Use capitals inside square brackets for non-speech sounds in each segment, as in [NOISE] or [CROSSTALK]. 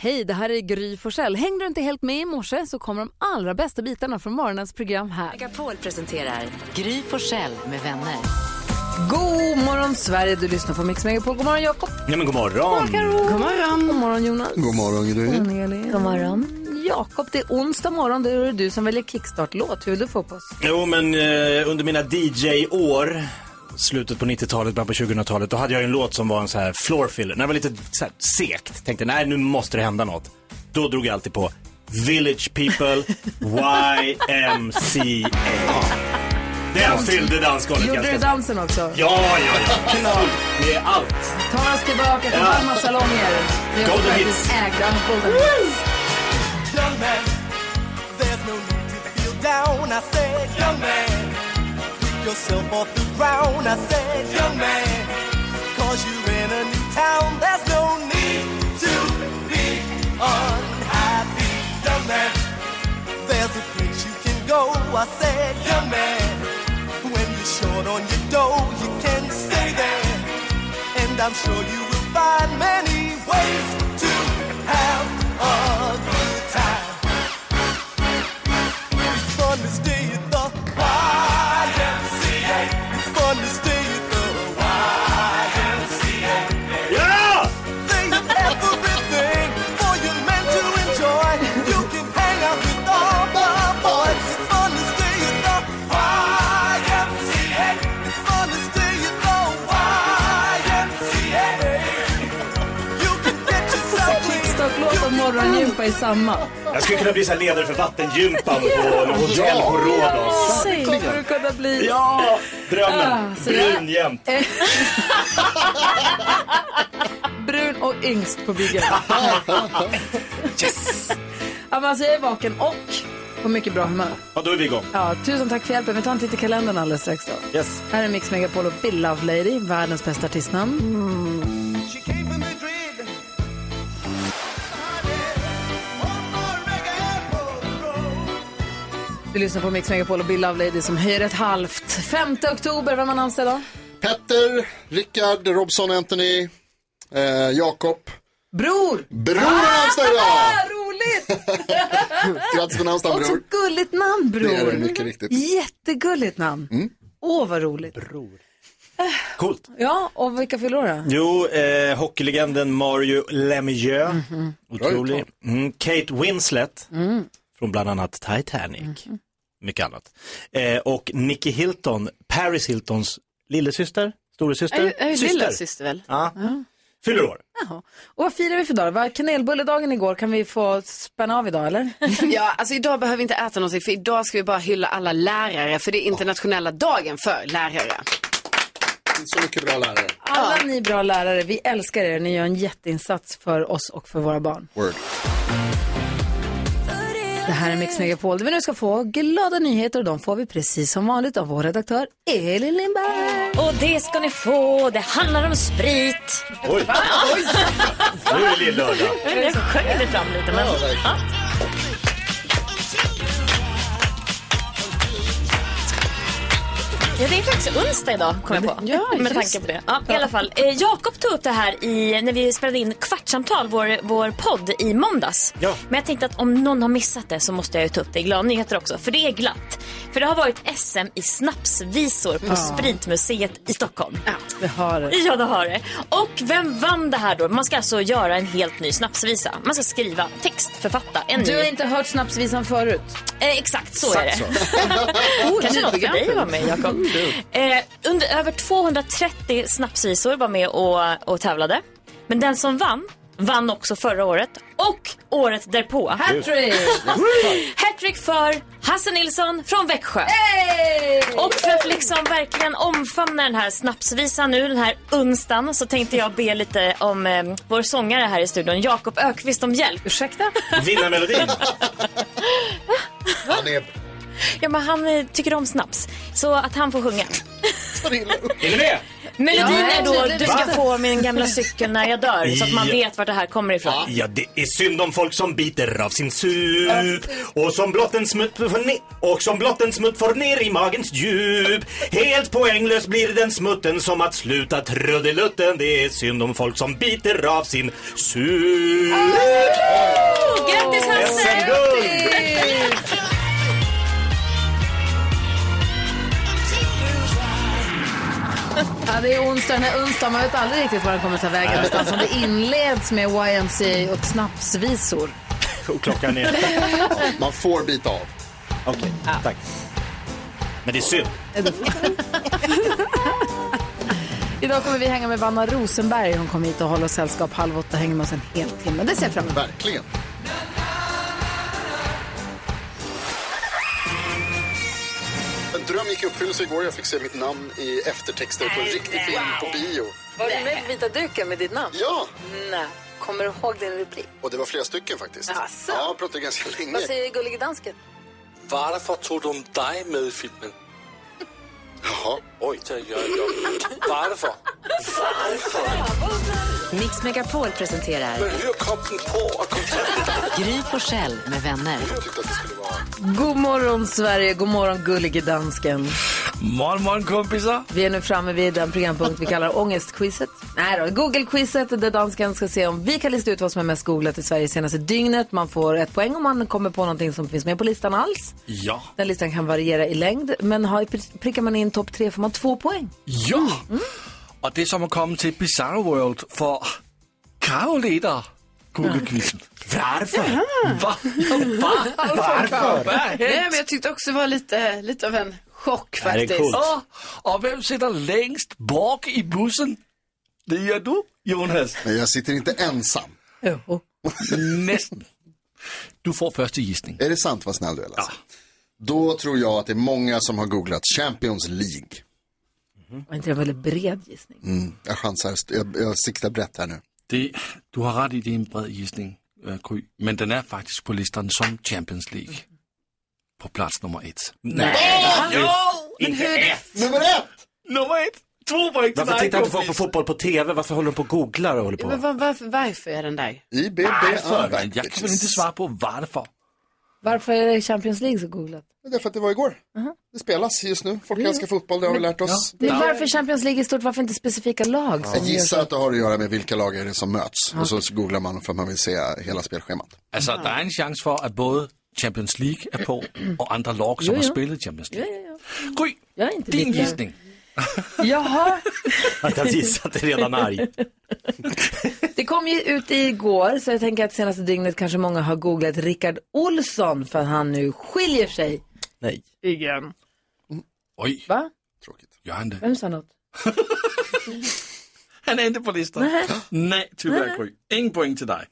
Hej, det här är Gry Forssell. Hängde du inte helt med i morse så kommer de allra bästa bitarna från morgonens program här. Megapol presenterar Gry Forssell med vänner. God morgon Sverige, du lyssnar på Mix Megapol. God morgon Jakob. Ja, men god morgon. God morgon. God morgon. God morgon Jonas. God morgon Gry. God morgon Elin. God morgon. Jakob, det är onsdag morgon. Då är det du som väljer kickstart-låt. Hur vill du få på oss? Jo, men eh, under mina DJ-år, slutet på 90-talet, början på 2000-talet, då hade jag ju en låt som var en så här floor filler. När det var lite så här segt, tänkte nej nu måste det hända något. Då drog jag alltid på Village People YMCA. Den fyllde dansgolvet Gjorde ganska du dansen också? Ja, ja, ja. Det är allt. Ta oss tillbaka till Ja. varma salonger. Vi har Golden faktiskt hits. ägda Golden Hits. Young man, there's no need to feel down. I said, young man, pick yourself off the ground. I said, young man, cause you're in a new town. There's no need to be unhappy. Young man, there's a place you can go. I said, young man, when you're short on your dough, you can stay there. And I'm sure you will find many ways to have a good time. It's fun to stay at the YMCA. It's fun to stay at the YMCA. Ja! They have everything for you men to enjoy. You can hang out with all the boys. It's fun to stay at the YMCA. It's fun to stay at the YMCA. You can get yourself clean. Kickstart-låt och morgongympa i samma. Jag skulle kunna bli så här ledare för vattengympan på något hotell på Rhodos. Säg vad det kunde bli. Ja, drömmen. Ah, så det- Brun jämt. Brun och yngst [LAUGHS] på bygget. yes! ja, men alltså, jag är vaken och på mycket bra humör. Ja, då är vi igång. Ja, tusen tack för hjälpen. Vi tar en titt i kalendern alldeles strax. Då. Yes. Här är Mix Megapol och Bill Love Lady, världens bästa artistnamn. Mm. She came from Madrid. Du lyssnar på Mix Megapol och Bill Love Lady som höjer ett halvt. 5 oktober, vem har namnsdag då? Petter, Rickard, Robson, Anthony, eh, Jakob. Bror! Bror har namnsdag idag! Ah, roligt! Grattis på namnsdagen Och så bror. gulligt namn, Bror. Det är det mycket riktigt. Mm. Jättegulligt namn. Åh, vad roligt. Äh. Coolt. Ja, och vilka fyller år då? Jo, eh, hockeylegenden Mario Lemieux. Mm-hmm. Otrolig. Mm, Kate Winslet. Mm. Från bland annat Titanic. Mm-hmm. Mycket annat. Eh, och Nicky Hilton, Paris Hiltons lillasyster, storasyster, Är det syster. lilla syster väl? Ja. Fyller år. Jaha. Och vad firar vi för dag? Det var kanelbulledagen igår. Kan vi få spänna av idag eller? [LAUGHS] Ja, alltså idag behöver vi inte äta någonting för idag ska vi bara hylla alla lärare för det är internationella dagen för lärare. Det Alltså- finns så mycket bra lärare. Alla ni bra lärare, vi älskar er. Ni gör en jätteinsats för oss och för våra barn. Word. Det här är Mix Megapol där vi nu ska få glada nyheter och de får vi precis som vanligt av vår redaktör Elin Lindberg. Och det ska ni få. Det handlar om sprit. Oj. Nu är det lill-lördag. Jag sjöng det fram lite. Men... Ja, det är faktiskt onsdag idag, kom jag på. Ja, med just tanke på det. Ja, I alla fall, eh, Jakob tog upp det här i, när vi spelade in Kvartsamtal, vår, vår podd, i måndags. Ja. Men jag tänkte att om någon har missat det så måste jag ju ta upp det i glada nyheter också, för det är glatt. För det har varit SM i snapsvisor på Spritmuseet i Stockholm. Vi har det. Ja, det har det. Och vem vann det här då? Man ska alltså göra en helt ny snapsvisa. Man ska skriva text, författa en Du ny... har inte hört snapsvisan förut. Eh, exakt så är det. [LAUGHS] [LAUGHS] Kanske något för program. dig var med, Mm, Jakob. Eh, under över 230 snapsvisor var med och, och tävlade. Men den som vann, vann också förra året och året därpå. Hattrick! Hattrick för Hasse Nilsson från Växjö. Och för att liksom verkligen omfamna den här snapsvisan nu, den här onsdagen, så tänkte jag be lite om eh, vår sångare här i studion, Jakob Ökvist om hjälp. Ursäkta? Vinnarmelodin. Han är Ja, men han eh, tycker om snaps, så att han får sjunga. så illa upp. Är ni med? Melodin Ja, är då tydligen. Du ska få min gamla cykel när jag dör, så att man Ja. vet vart det här kommer ifrån. Ja, det är synd om folk som biter av sin sup och som blott en smutt får ner, och som blott en smutt får ner i magens djup. Helt poänglös blir den smutten som att sluta trudelutten. Det är synd om folk som biter av sin sup. Ja, det är onsdag, den är onsdag. Man vet aldrig riktigt var den kommer ta vägen. Utan som det inleds med YMCA och snapsvisor. Och Oh, klockan är... Man får bita av. Okej, tack. Men det är synd. Idag kommer vi hänga med Vanna Rosenberg. Hon kommer hit och håller oss sällskap. Halv åtta hänger med oss en hel timme. Det ser jag fram emot. Verkligen. En dröm gick i uppfyllelse igår. Jag fick se mitt namn i eftertexter på en riktig film på bio. Var du med på vita duken med ditt namn? Ja, Nej. Kommer du ihåg din replik? och det var flera stycken faktiskt. Jaså? Ja, jag pratade ganska Vad länge. säger gullige dansken? Varför tog de dig med i filmen? Jaha. Oj, det gör jag. Varför? Mix Megapol presenterar Men hur kom den på att kontakta Gry Forssell med vänner. Jag tyckte att det skulle vara... God morgon, Sverige. God morgon, gullige dansken. Morgon, morgon kompisar. Vi är nu framme vid den programpunkt vi kallar ångestquizet. Nej då, Google-quizet där dansken ska se om vi kan lista ut vad som är mest googlat i Sverige senaste dygnet. Man får ett poäng om man kommer på någonting som finns med på listan alls. Ja. Den listan kan variera i längd, men har, prickar man in topp tre får man två poäng. Ja! Och det är som att komma till Bizarro World för Karo leder Google-quizen. Varför? Va? [LAUGHS] Va? Varför? Nej, men jag tyckte också det var lite, lite av en chock Ja, det är faktiskt. coolt. Ja, och vem sitter längst bak i bussen? Det gör du, Jonas. Men jag sitter inte ensam. Nästan. Du får första gissning. Är det sant vad snäll du är Lasse? Då tror jag att det är många som har googlat Champions League. Mhm. Var inte det en väldigt bred gissning? Mm, jag chansar, jag, jag siktar brett här nu. Det, du har rätt i, det är en bred gissning, øh, Gry. Men den är faktiskt på listan som Champions League. På plats nummer ett. Nummer ett! Nummer ett! Två poäng till Varför dig, tittar inte folk på kompis. fotboll på tv? Varför håller de på och googlar och håller på? Men var, varför, varför är den där? IBB Varför? Unback Men jag kan väl inte svara på varför. Varför är det Champions League så googlat? Det är för att det var igår. Det spelas just nu. Folk älskar Mm. fotboll, det har vi lärt oss. Det är varför Champions League är stort, varför inte specifika lag? som Jag gör gissar att det har att göra med vilka lag är det som möts. Och så googlar man för att man vill se hela spelschemat. Altså, der er en chance for, at både Champions League er på, og andre lag, som har spillet Champions League. Gry, Jag är inte din lika- gissning. Jaha, Att jag gissat är redan arg. det kom ju ut igår så jag tänker att senaste dygnet kanske många har googlat Rickard Olsson för att han nu skiljer sig. Nej. Igen. Oj, Va? Tråkigt. gør han det? Vem sa något? Han er ikke på listen. Nej, tyvärr Gry. Ingen point til dig.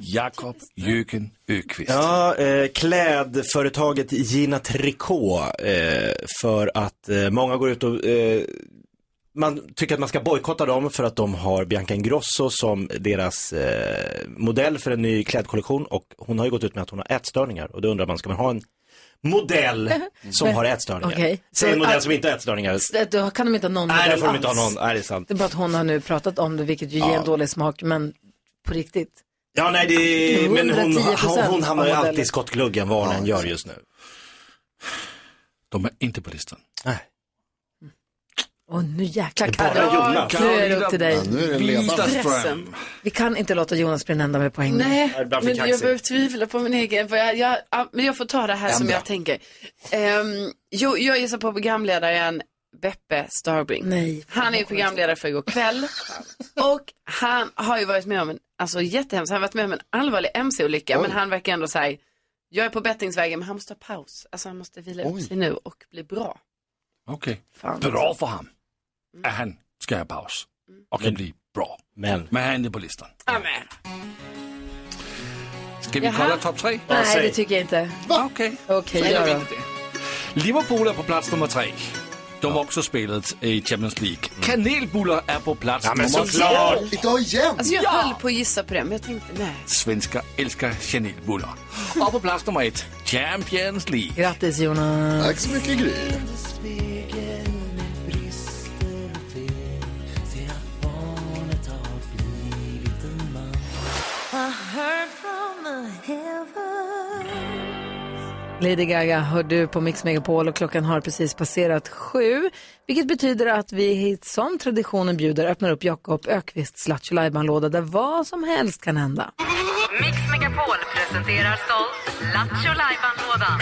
Jakob Jøgen Økvist. Ja, eh, klädföretaget Gina Tricot eh, för att eh, många går ut och eh, man tycker att man ska bojkotta dem för att de har Bianca Ingrosso som deras eh, modell för en ny klädkollektion och hon har ju gått ut med att hon har ätstörningar och då undrar man, ska man ha en modell som har ätstörningar? Okej. Säg en modell som inte har ätstörningar. Det, då kan de inte ha någon Nej, då modell får de inte ha alls. någon. Nej, det är sant. Det är bara att hon har nu pratat om det, vilket ju ger en dålig smak, men på riktigt. Ja, nej, det, men hon, hon, 110% hon hamnar ju av alltid modellen. i skottgluggen vad hon än gör just nu. De er ikke på listen. Nej. Och nu jäklar Det är bara Karro. Jonas. Nu är det upp till Ja, dig. nu är det ledande. Widerström. Vi kan inte låta Jonas bli den enda med poäng. Nej, är bara för men jag kaxig. behöver tvivla på min egen. För jag, jag, ja, men jag får ta det här som jag tänker. Ehm, jo, jag gissar på programledaren Beppe Starbring. Nej. Han är ju programledare för igår kväll. Och han har ju varit med om en, alltså jättehemskt, han har varit med om en allvarlig mc-olycka. Men han verkar ändå säga, jag är på bettingsvägen men han måste ta paus. Alltså han måste vila upp Oj. sig nu och bli bra. Okay. Fan. Bra for ham, at han skal have pause og kan blive bra. Men, Men han er ikke på listen. Amen. Skal vi kolde top 3? Nej, det tycker jag inte. Okay. Okej, Så gör gör vi då. inte det. Liverpool är på plats nummer tre. De har också spelat i Champions League. Kanelbullar är på plats nummer Mm. såklart! Idag igen! Alltså jag höll på att gissa på det men jag tänkte nej. Svenskar älskar kanelbullar. Och på plats nummer ett, Champions League. Grattis Jonas. Tack så mycket Gry. [LAUGHS] Lady Gaga hör du på Mix Megapol och klockan har precis passerat sju. Vilket betyder att vi som traditionen bjuder öppnar upp Jakob Ökvists Lattjo låda där vad som helst kan hända. Mix Megapol presenterar stolt Lattjo Lajban-lådan.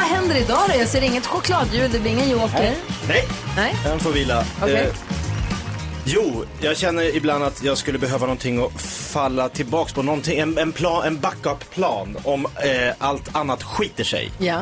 händer idag då? Jag ser inget chokladhjul, det blir ingen joker. Nej. Nej. Den får vila. Okej. Eh, jo, jag känner ibland att jag skulle behöva någonting att falla tillbaks på. Någonting, en, en, plan, en backup-plan om eh, allt annat skiter sig. Ja.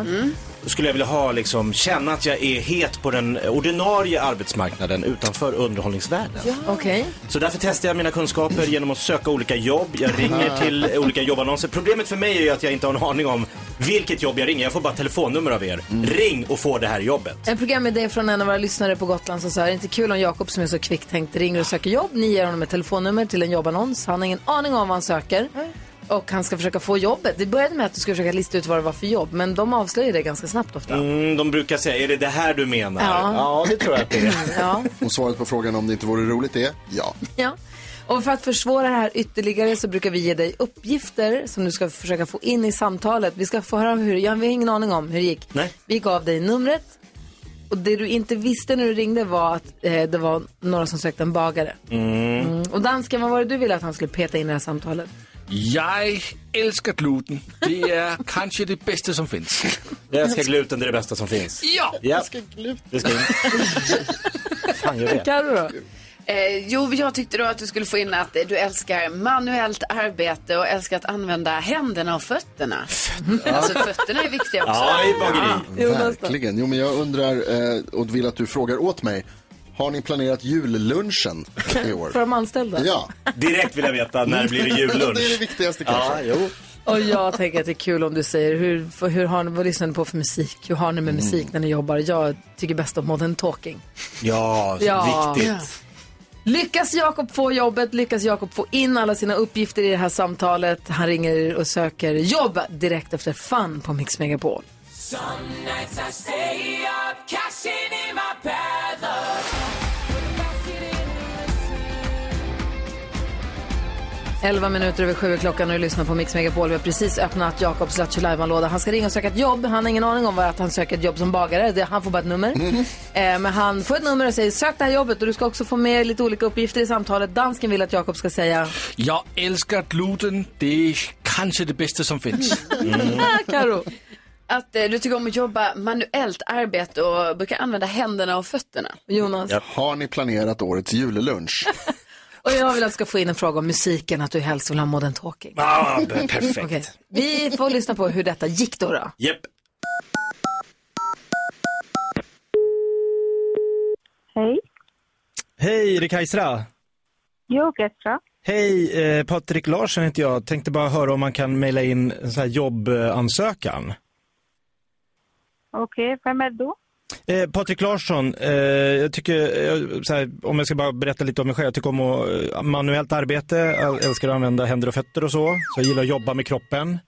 Då skulle jag vilja ha, liksom, känna att jag är het på den ordinarie arbetsmarknaden utanför underhållningsvärlden. Okej. Så därför testar jag mina kunskaper genom att söka olika jobb. Jag [LAUGHS] ringer till olika jobbannonser. Problemet för mig är ju att jag inte har en aning om vilket jobb jag ringer. Jag får bara telefonnummer av er. Mm. Ring och få det här jobbet. En programidé från en av våra lyssnare på Gotland som sa, är det inte kul om Jakob som är så kvicktänkt ringer och söker jobb? Ni ger honom ett telefonnummer till en jobbannons. Han har ingen aning om vad han söker. Och han ska försöka få jobbet. Det började med att du skulle försöka lista ut vad det var för jobb, men de avslöjar det ganska snabbt ofta. Mm, de brukar säga, är det det här du menar? Ja. Mm. det tror jag att det är. Ja. Och svaret på frågan om det inte vore roligt är ja. Ja. Och för att försvåra det här ytterligare så brukar vi ge dig uppgifter som du ska försöka få in i samtalet. Vi ska få höra hur, jag har ingen aning om hur det gick. Nej. Vi gav dig numret och det du inte visste när du ringde var att eh, det var några som sökte en bagare. Mm. Och dansken, vad var det du ville att han skulle peta in i det här samtalet? Jag älskar gluten. Det är kanske det bästa som finns. Jag älskar gluten, det är det bästa som finns. Ja! Ja, det ska in. Fan, jag [LAUGHS] vet. Carro då? Eh, jo, jag tyckte då att du skulle få in att eh, du älskar manuellt arbete och älskar att använda händerna och fötterna. Alltså fötterna är viktiga också. Ja, i bageri. Verkligen. Jo, men jag undrar eh, och vill att du frågar åt mig. Har ni planerat jullunchen i år? För de anställda? Ja, Direkt vill jag veta, när blir det [LAUGHS] det är det jullunch? viktigaste kanske. Ja, jo. Och jag tänker att det är kul om du säger hur, för, hur har ni, vad lyssnar ni på för musik? Hur har ni med Mm. musik när ni jobbar? Jag tycker bäst om modern talking. Ja, Ja. viktigt. Lyckas Jakob få jobbet? Lyckas Jakob få in alla sina uppgifter i det här samtalet? Han ringer och söker jobb direkt efter Fun på Mix Megapol. Elva minuter över sju är klockan och du lyssnar på Mix Megapol. Vi har precis öppnat Jakobs Lattjo Lajban-låda. Han ska ringa och söka ett jobb. Han har ingen aning om vad att han söker ett jobb som bagare. Det- Han får bara ett nummer. Eh, men han får ett nummer och säger sök det här jobbet. Och du ska också få med lite olika uppgifter i samtalet. Dansken vill att Jakob ska säga. Jag älskar gluten. Det är kanske det bästa som finns. Mm. Ah, [LAUGHS] Karo. Att eh, du tycker om att jobba manuellt arbete och brukar använda händerna och fötterna. Jonas. Har ni planerat årets jullunch? Och jag vill att du ska få in en fråga om musiken, att du helst vill ha modern talking. Ah, Okej. perfekt. Vi får lyssna på hur detta gick då. då. Japp. Hej. Hej, är det Kajsra? Jo, Petra. Hej, eh, Patrik Larsson heter jag. Tänkte bara höra om man kan mejla in en sån här jobbansökan. Okej, vem är du? Eh, Patrik Larsson, eh, jag tycker, eh, så här, om jag ska bara berätta lite om mig själv, jag tycker om att, eh, manuellt arbete, jag älskar att använda händer och fötter och så, så jag gillar att jobba med kroppen.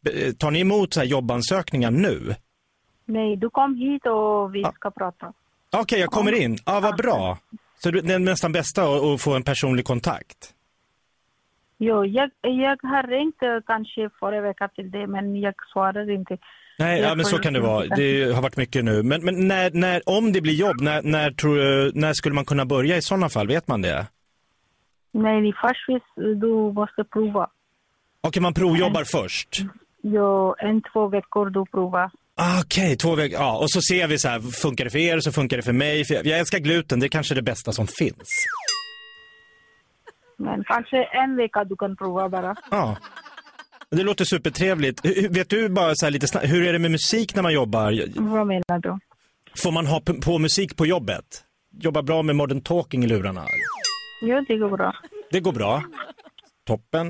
Be- eh, Tar ni emot så här jobbansökningar nu? Nej, du kom hit och vi ska prata. Okej, jag kommer in. Ja, vad bra. Så det är nästan bästa att, att få en personlig kontakt. Jo, jag, jag har ringt eh, kanske förra veckan till dig, men jag svarar inte. Nej, ja, men så kan det vara. Det har varit mycket nu. Men, men när, när, om det blir jobb, när, när, tror, du- när skulle man kunna börja i sådana fall? Vet man det? Nej, först visst, du måste prova. Okej, man provjobbar först. Jo, en, två veckor du provar. Ah, Okej, två veckor. Ja, och så ser vi så här, funkar det för er så funkar det för mig. För jag, jag älskar gluten, det är kanske det bästa som finns. Men kanske en vecka du kan prova bara. Ja. Det låter supertrevligt. Hur- hur- Vet du bara så här lite snabbt, hur är det med musik när man jobbar? Vad menar du? Får man ha p- på musik på jobbet? Jobba bra med modern talking i lurarna? Jo, det [LAUGHS] går bra. Det går bra. Toppen.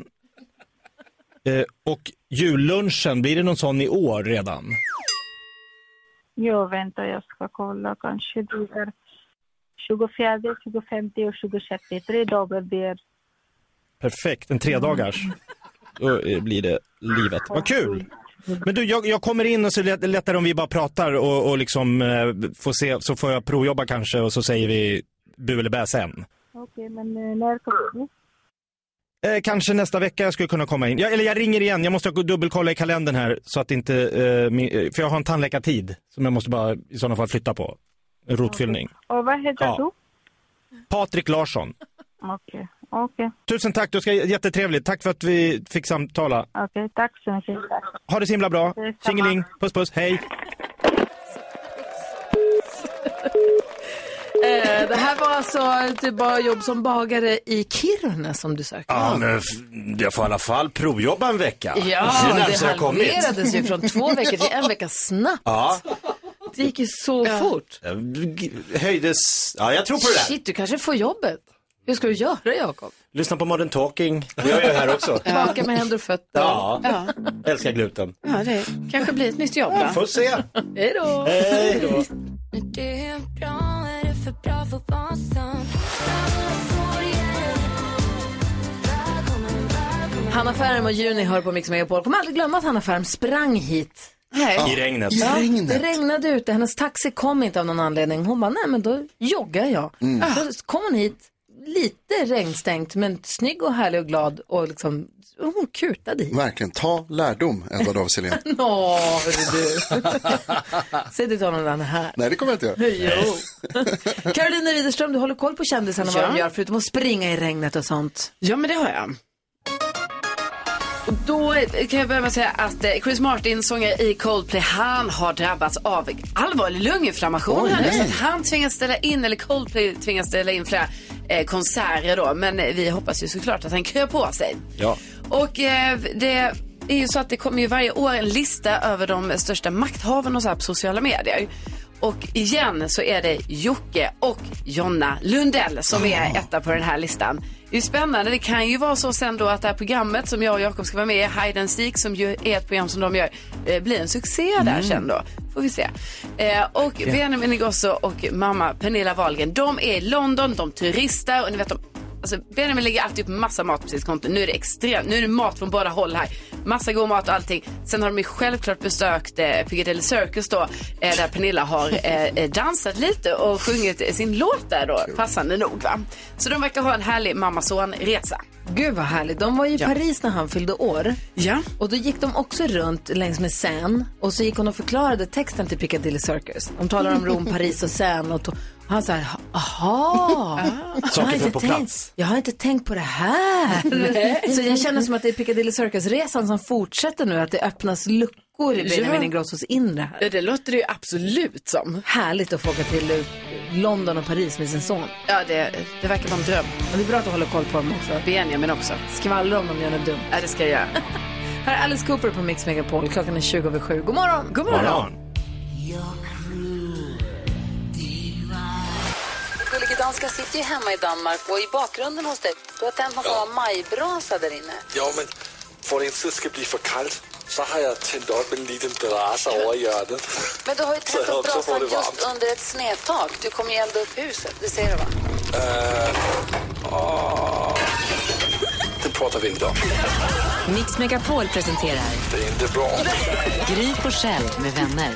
Eh, och jullunchen, blir det någon sån i år redan? Jo, vänta, jag ska kolla. Kanske du är 24, 25 och 26. Tre dagar det är. Perfekt, en tredagars. Mm. Då eh, blir det livet. Vad kul! Men du, jag, jag kommer in och så är det lättare om vi bara pratar och, och liksom eh, får se, så får jag provjobba kanske och så säger vi bu eller bä sen. Okej, men eh, när kommer du? Eh, kanske nästa vecka jag skulle kunna komma in. Jag, eller jag ringer igen, jag måste gå- dubbelkolla i kalendern här så att inte, eh, min, eh, för jag har en tandläkartid som jag måste bara i sådana fall flytta på. En rotfyllning. Och vad heter Ja. du? Patrik Larsson. Okej, okej, Tusen tack, du ska jättetrevligt. Tack för att vi fick samtala. okej. Tack så mycket. Tack. Ha det så himla bra. Detsamma. Tjingeling, puss puss, hej. Eh, Det här var alltså ett bara jobb som bagare i Kiruna som du sökte. Ja, men f- jag får i alla fall provjobba en vecka. det är närmast det jag har kommit. halverades [LAUGHS] ju från två veckor till en vecka snabbt. Ja, Det gick ju så fort. jag g- höjdes. Ja, jag tror på det där. Shit, du kanske får jobbet. Hur ska du göra, Jakob? Lyssna på Modern Talking. Det gör jag ju här också. Baka med händer och fötter. Ja. ja. Älskar gluten. Ja, det kanske blir ett nytt jobb. Ja, får se. Hej då. Hej då. Det är bra, är det för bra för att vara sant? Hanna Färm och Juni hör på Mix Megapol. Kommer aldrig glömma att Hanna Färm sprang hit. Ja. I regnet. I Ja, regnet. Det regnade ute, hennes taxi kom inte av någon anledning. Hon bara, nej men då joggar jag. Mm. Då kom hon hit, lite regnstängt, men snygg och härlig och glad och liksom, hon kutade [LAUGHS] hit. Verkligen, ta lärdom, Edward af Sillén. Nå, [LAUGHS] hörru du. Säg det till honom när han är här. Nej, det kommer jag inte göra. Jo. [LAUGHS] Karolina Widerström, du håller koll på kändisarna och Ja. vad de gör förutom att springa i regnet och sånt. Ja, men det har jag. Och då kan jag börja med att säga att eh, Chris Martin, sångare i Coldplay, han har drabbats av allvarlig lunginflammation. Oj, här nu, nej. så att han tvingas ställa in, eller Coldplay tvingas ställa in flera eh, konserter då. Men eh, vi hoppas ju såklart att han kryar på sig. Ja. Och eh, det är ju så att det kommer ju varje år en lista över de största makthavarna och så här på sociala medier. Och igen så är det Jocke och Jonna Lundell som är etta på den här listan. Det är ju spännande. Det kan ju vara så sen då att det här programmet som jag och Jakob ska vara med i, Hide and Seek, som ju är ett program som de gör, eh, blir en succé där Mm. sen då. Får vi se. Eh, och Ja. Benjamin Ingrosso och mamma Pernilla Wahlgren, de är i London, de turistar och ni vet de Alltså Benjamin lägger alltid upp massa mat på sitt konto. Nu är det extremt, nu är det mat från båda håll här. Massa god mat och allting. Sen har de ju självklart besökt eh, Piccadilly Circus då, eh, där Pernilla har eh, eh, dansat lite och sjungit eh, sin låt där då, passande nog va. Så de verkar ha en härlig mamma-son-resa. Gud vad härligt. De var ju i Ja. Paris när han fyllde år. Ja. Och då gick de också runt längs med Seine och så gick hon och förklarade texten till Piccadilly Circus. De talar om Rom, Paris och Seine och, to- och han sa, aha, Ah. jag Saker har, föll inte på tänkt, plats. jag har inte tänkt på det här. Nej. så jag känner som att det är Piccadilly Circus-resan som fortsätter nu, att det öppnas luckor i Benjamin Ja. Ingrossos inre här. Ja, det låter det ju absolut som. Härligt att få åka till eh, London och Paris med sin son. Ja, det, det verkar vara en dröm. Men det är bra att du håller koll på dem också. Benjamin också. Skvallra om de gör något dumt. Ja, det ska jag göra. [LAUGHS] Här är Alice Cooper på Mix Megapol. Klockan är 20 över 7. God morgon! God morgon. morgon. Gullige danskan sitter ju hemma i Danmark och i bakgrunden hos dig, du har tänt någon form av majbrasa där inne. Jo, men for det inte ska bli för kallt, så har jag tänt upp en liten brasa över hjärtat. Men du har ju Så tänt jag upp också får brasan det varmt. just under ett snedtak. Du kommer ju elda upp huset, det ser du va? Øh, Det pratar vi inte om. Mix Megapol presenterar Det är inte bra. Gry på Själ med vänner.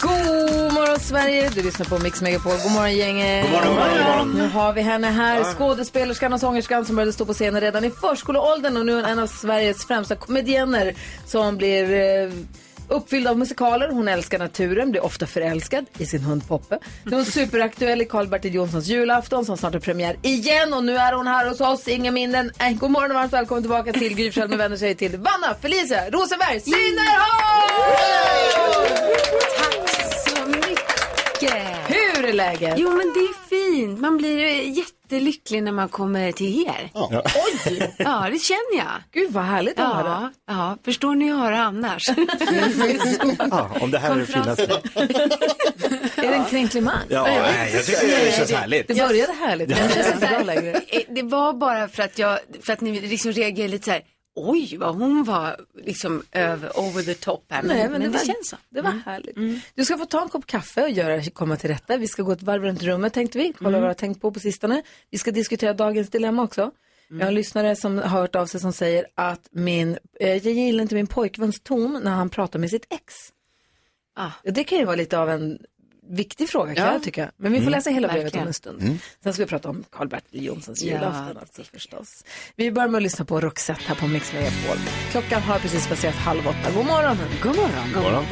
God morgon Sverige! Du lyssnar på Mix Megapol. God morgon gänget! God morgon, god morgon, god morgon. Nu har vi henne här, Ja. skådespelerskan och sångerskan som började stå på scenen redan i förskoleåldern och nu är hon en av Sveriges främsta komedienner som blir eh, uppfylld av musikaler. Hon älskar naturen, blir ofta förälskad i sin hund Poppe. Nu är hon superaktuell i Karl-Bertil Jonssons julafton som snart är premiär igen och nu är hon här hos oss, inga mindre än... eh, God morgon och varmt välkommen tillbaka till Gry Forssell med vänner säger till Vanna Felicia Rosenberg Sinnerholm! så mycket. Hur är läget? Jo, men det är fint. Man blir ju jättelycklig när man kommer till er. Ja. Oj! Ja, det känner jag. Gud, vad härligt ja, att höra. Ja, förstår ni hur jag har det [LAUGHS] annars? Ja, om det här är det finaste. Är det en kränklimang? Ja, nej, jag tycker det känns härligt. Det började härligt, men det känns inte bra längre. [LAUGHS] Eh, Det var bara för att jag, för att ni liksom reagerade lite så här, oj vad hon var liksom över, over the top här. Men, Nej, men, det, var- känns så. Mm. Det var härligt. Du ska få ta en kopp kaffe och göra, komma till rätta. Vi ska gå ett varv runt rummet tänkte vi. Mm. Kolla vad du har tänkt på på sistone. Vi ska diskutera dagens dilemma också. Jag Mm. har en lyssnare som har hört av sig som säger att min, eh, jag gillar inte min pojkväns ton när han pratar med sitt ex. Ja, Det kan ju vara lite av en viktig fråga kan Ah. Ja. jag tycka. Men vi får Mm. läsa hela brevet om Verkligen. en stund. Mm. Sen ska vi prata om Karl-Bertil Jonssons Ja, julafton alltså, förstås. Vi börjar med att lyssna på Roxette här på Mix Megapol. Klockan har precis passerat halv åtta. God morgon! hörni. God morgon! God morgon.